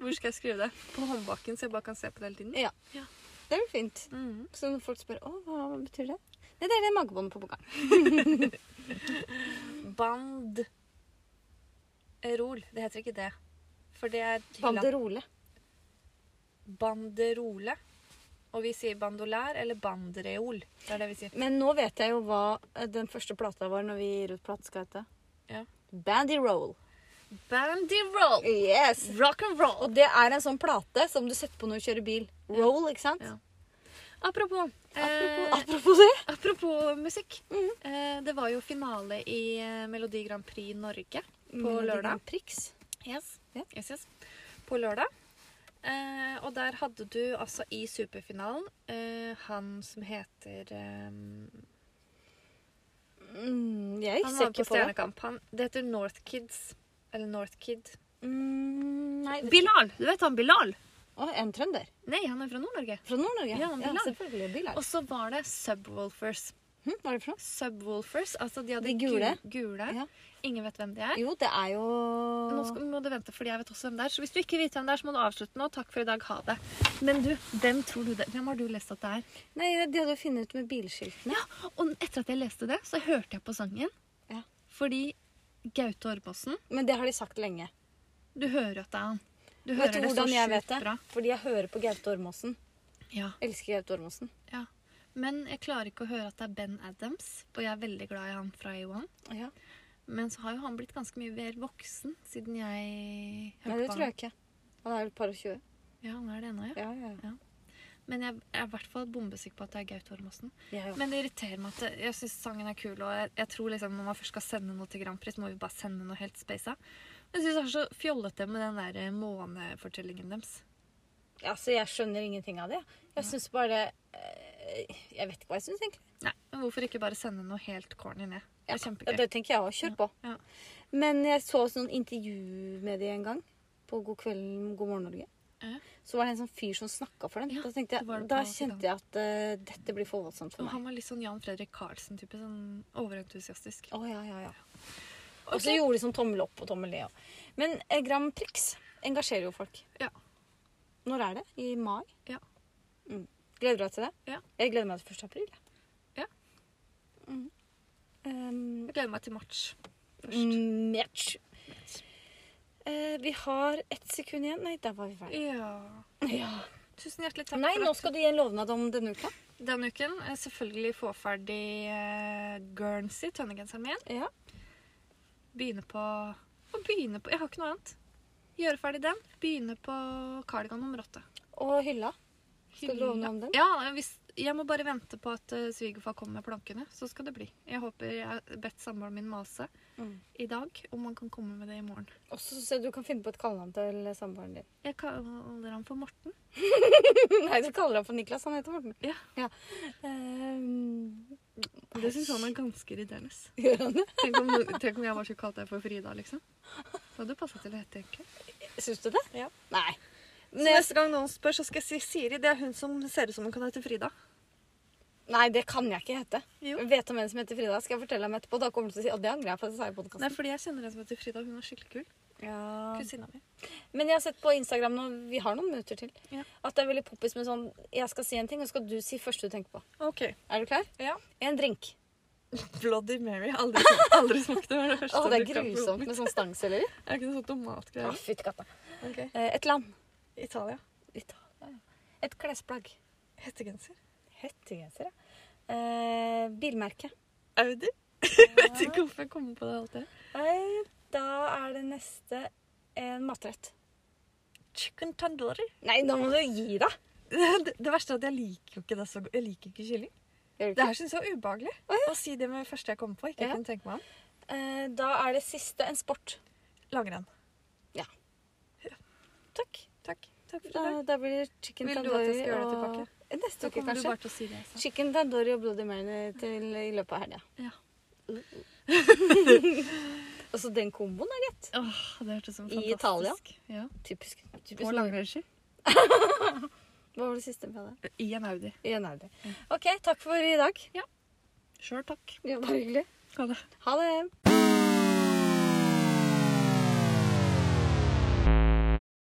Speaker 1: Hvor skal jeg skrive det? På håndbaken, så jeg bare kan se på det hele tiden?
Speaker 2: Ja.
Speaker 1: Ja.
Speaker 2: Det blir fint.
Speaker 1: Mhm.
Speaker 2: Så når folk spør å, hva betyr det? Nei, det er det magebåndet på bokalen.
Speaker 1: Band Rol. Det heter ikke det. For det er
Speaker 2: Banderole.
Speaker 1: banderole. Og vi sier bandolær eller bandreol. Det er det vi sier.
Speaker 2: Men nå vet jeg jo hva eh, den første plata vår når vi gir ut plate, skal hete.
Speaker 1: Ja.
Speaker 2: Bandyroll.
Speaker 1: Bandyroll!
Speaker 2: Yes!
Speaker 1: Rock and roll!
Speaker 2: Og det er en sånn plate som du setter på når du kjører bil. Roll, ikke sant?
Speaker 1: Ja. Apropos,
Speaker 2: Apropos,
Speaker 1: eh,
Speaker 2: apropos det.
Speaker 1: apropos musikk. Eh, det var jo finale i eh, Melodi Grand Prix Norge på
Speaker 2: Melodi
Speaker 1: lørdag.
Speaker 2: Grand Prix.
Speaker 1: Yes.
Speaker 2: Ja.
Speaker 1: yes, yes. På lørdag. Eh, og der hadde du altså i superfinalen eh, han som heter eh,
Speaker 2: Mm, jeg
Speaker 1: Han
Speaker 2: ser
Speaker 1: var
Speaker 2: ikke
Speaker 1: på
Speaker 2: på det.
Speaker 1: Stjernekamp. Han, det heter North Kids. Eller North Kid.
Speaker 2: Mm, nei.
Speaker 1: Bilal! Du vet han Bilal?
Speaker 2: Å, en trønder.
Speaker 1: Nei, han er fra Nord-Norge.
Speaker 2: Fra Nord-Norge.
Speaker 1: Ja, han Bilal.
Speaker 2: selvfølgelig. Bilal.
Speaker 1: Og så var det Subwoolfers.
Speaker 2: Hm, hva er det for noe?
Speaker 1: Subwoolfers, altså De hadde
Speaker 2: De gule.
Speaker 1: gu- gule.
Speaker 2: Ja.
Speaker 1: Ingen vet hvem de er.
Speaker 2: Jo, det er jo
Speaker 1: Nå skal, må du vente, fordi jeg vet også hvem det er. Så hvis du ikke vet hvem det er, så må du avslutte nå. Takk for i dag. Ha det. Men du, hvem tror du det Hvem har du lest at det er?
Speaker 2: Nei, de hadde jo funnet ut med bilskiltene.
Speaker 1: Ja, og etter at jeg leste det, så hørte jeg på sangen.
Speaker 2: Ja.
Speaker 1: Fordi Gaute Ormåsen
Speaker 2: Men det har de sagt lenge.
Speaker 1: Du hører at det er han. Du hører
Speaker 2: Vet du
Speaker 1: det så
Speaker 2: hvordan jeg vet
Speaker 1: sjukt
Speaker 2: det?
Speaker 1: bra.
Speaker 2: Fordi jeg hører på Gaute Ormåsen.
Speaker 1: Ja,
Speaker 2: Elsker Gaute Ormåsen.
Speaker 1: ja. Men jeg klarer ikke å høre at det er Ben Adams, og jeg er veldig glad i han fra A1.
Speaker 2: Ja.
Speaker 1: Men så har jo han blitt ganske mye mer voksen siden jeg hørte
Speaker 2: Nei, det
Speaker 1: på
Speaker 2: tror
Speaker 1: han.
Speaker 2: jeg ikke. Han er vel et par og tjue.
Speaker 1: Ja, han er det ennå, ja.
Speaker 2: Ja, ja, ja.
Speaker 1: Men jeg er i hvert fall bombesikker på at det er Gaute Ormåsen.
Speaker 2: Ja, ja.
Speaker 1: Men det irriterer meg at det- jeg syns sangen er kul, og jeg, jeg tror liksom når man først skal sende noe til Grand Prix, så må vi bare sende noe helt spasa. Men jeg syns det er så fjollete med den der eh, månefortellingen deres.
Speaker 2: Altså, jeg skjønner ingenting av det. Jeg syns bare eh, Jeg vet ikke hva jeg syns, egentlig.
Speaker 1: Nei, men hvorfor ikke bare sende noe helt corny ned? Det er
Speaker 2: Ja,
Speaker 1: kjempegøy.
Speaker 2: det tenker jeg òg. Kjør på.
Speaker 1: Ja.
Speaker 2: Men jeg så også noen intervju med de en gang. På God kveld, God morgen Norge.
Speaker 1: Ja.
Speaker 2: Så var det en sånn fyr som snakka for dem.
Speaker 1: Ja,
Speaker 2: da tenkte
Speaker 1: det var
Speaker 2: jeg,
Speaker 1: det
Speaker 2: da
Speaker 1: på
Speaker 2: kjente jeg at eh, dette blir for voldsomt for
Speaker 1: Og
Speaker 2: meg.
Speaker 1: han var litt sånn Jan Fredrik Karlsen-type. Sånn overentusiastisk.
Speaker 2: Å, ja, ja, ja. Og så gjorde de sånn tommel opp og tommel ned. også. Men eh, Grand Prix engasjerer jo folk.
Speaker 1: Ja.
Speaker 2: Når er det? I mai?
Speaker 1: Ja.
Speaker 2: Mm. Gleder du deg til det?
Speaker 1: Ja.
Speaker 2: Jeg gleder meg til 1. april. jeg.
Speaker 1: Ja.
Speaker 2: Mm. Um,
Speaker 1: Jeg gleder meg til mars. Først.
Speaker 2: Mm. Match. Eh, vi har ett sekund igjen. Nei, der var vi ferdig.
Speaker 1: Ja.
Speaker 2: Ja.
Speaker 1: Tusen hjertelig takk
Speaker 2: Nei,
Speaker 1: for
Speaker 2: nå
Speaker 1: at
Speaker 2: skal du gi en lovnad om denne uka.
Speaker 1: denne uken eh, selvfølgelig få ferdig eh, Guernsey, tønnegenseren min.
Speaker 2: Ja.
Speaker 1: Begynne på Å begynne på Jeg har ikke noe annet. Gjøre ferdig den. Begynne på kardigan nummer åtte.
Speaker 2: Og hylla. Skal du
Speaker 1: Hylla.
Speaker 2: lovne om den?
Speaker 1: Ja, hvis, jeg må bare vente på at eh, svigerfar kommer med plankene, så skal det bli. Jeg håper jeg har bedt samboeren min mase
Speaker 2: Mm.
Speaker 1: i dag om han kan komme med det i morgen.
Speaker 2: Og så ser du kan finne på et kallenavn til samboeren din.
Speaker 1: Jeg kaller han for Morten.
Speaker 2: Nei, du kaller ham for Niklas. Han heter Morten.
Speaker 1: Ja.
Speaker 2: Um,
Speaker 1: Det syns han er ganske irriterende.
Speaker 2: gjør han det?
Speaker 1: Tenk om, tenk om jeg bare skulle kalt deg for Frida, liksom. Da hadde du passa til å hete egentlig.
Speaker 2: Syns du det?
Speaker 1: Ja.
Speaker 2: Nei.
Speaker 1: Så neste gang noen spør, så skal jeg si Siri. Det er hun som ser ut som hun kan hete Frida.
Speaker 2: Nei, det kan jeg ikke hete.
Speaker 1: Jo.
Speaker 2: Vet om en som heter Frida, skal jeg fortelle ham etterpå. Da kommer du til å si at det angrer jeg på at jeg sa i
Speaker 1: Nei,
Speaker 2: podkasten.
Speaker 1: fordi jeg kjenner en som heter Frida. Hun er skikkelig kul.
Speaker 2: Ja.
Speaker 1: Kusina mi.
Speaker 2: Men jeg har sett på Instagram nå, vi har noen minutter til,
Speaker 1: Ja.
Speaker 2: at det er veldig poppis med sånn Jeg skal si en ting, og så skal du si først du tenker på.
Speaker 1: OK.
Speaker 2: Er du klar?
Speaker 1: Ja.
Speaker 2: En drink.
Speaker 1: Bloody Mary. Aldri, smak- aldri smakt det. var det første
Speaker 2: Å, det er
Speaker 1: dukket opp i hodet
Speaker 2: grusomt
Speaker 1: mitt.
Speaker 2: med sånn stangselleri.
Speaker 1: Er det ikke noe sånn
Speaker 2: Å,
Speaker 1: tomatgreier?
Speaker 2: fytti katta.
Speaker 1: Ok.
Speaker 2: Eh, Et land.
Speaker 1: Italia.
Speaker 2: Italia. Et klesplagg.
Speaker 1: Hettegenser.
Speaker 2: Hettegenser, ja. Eh, bilmerke.
Speaker 1: Audi. Jeg vet ikke hvorfor jeg kommer på det alltid.
Speaker 2: Eh, Da er det neste en matrett.
Speaker 1: Chicken tandoori.
Speaker 2: Nei, nå må du gi deg!
Speaker 1: Det, det verste er at jeg liker jo ikke det så godt. Jeg liker ikke kylling. Det
Speaker 2: Gjør du ikke?
Speaker 1: her syns jeg var ubehagelig. Å si det med det første jeg kom på. Ikke
Speaker 2: Ja.
Speaker 1: kunne tenke meg om.
Speaker 2: Eh, Da er det siste en sport.
Speaker 1: Langrenn.
Speaker 2: Takk. Eh,
Speaker 1: Takk. Takk for i dag.
Speaker 2: Da, da blir det chicken
Speaker 1: Vil du at jeg skal
Speaker 2: tandoori
Speaker 1: gjøre det
Speaker 2: og- Eh, Neste
Speaker 1: Så
Speaker 2: uke,
Speaker 1: kommer du
Speaker 2: kanskje.
Speaker 1: bare til å si det. Så.
Speaker 2: Chicken tandoori og Bloody Mary til, i løpet av helga.
Speaker 1: Ja.
Speaker 2: Og så Altså, den komboen er gitt.
Speaker 1: Åh, det hørtes som
Speaker 2: I
Speaker 1: fantastisk.
Speaker 2: Italia?
Speaker 1: Ja.
Speaker 2: Typisk. typisk.
Speaker 1: På langrennsski.
Speaker 2: Hva var det siste vi hadde?
Speaker 1: I en Audi.
Speaker 2: I en Audi. OK, takk for i dag.
Speaker 1: Sjøl takk.
Speaker 2: Det var bare hyggelig.
Speaker 1: Ha det.
Speaker 2: Ha det.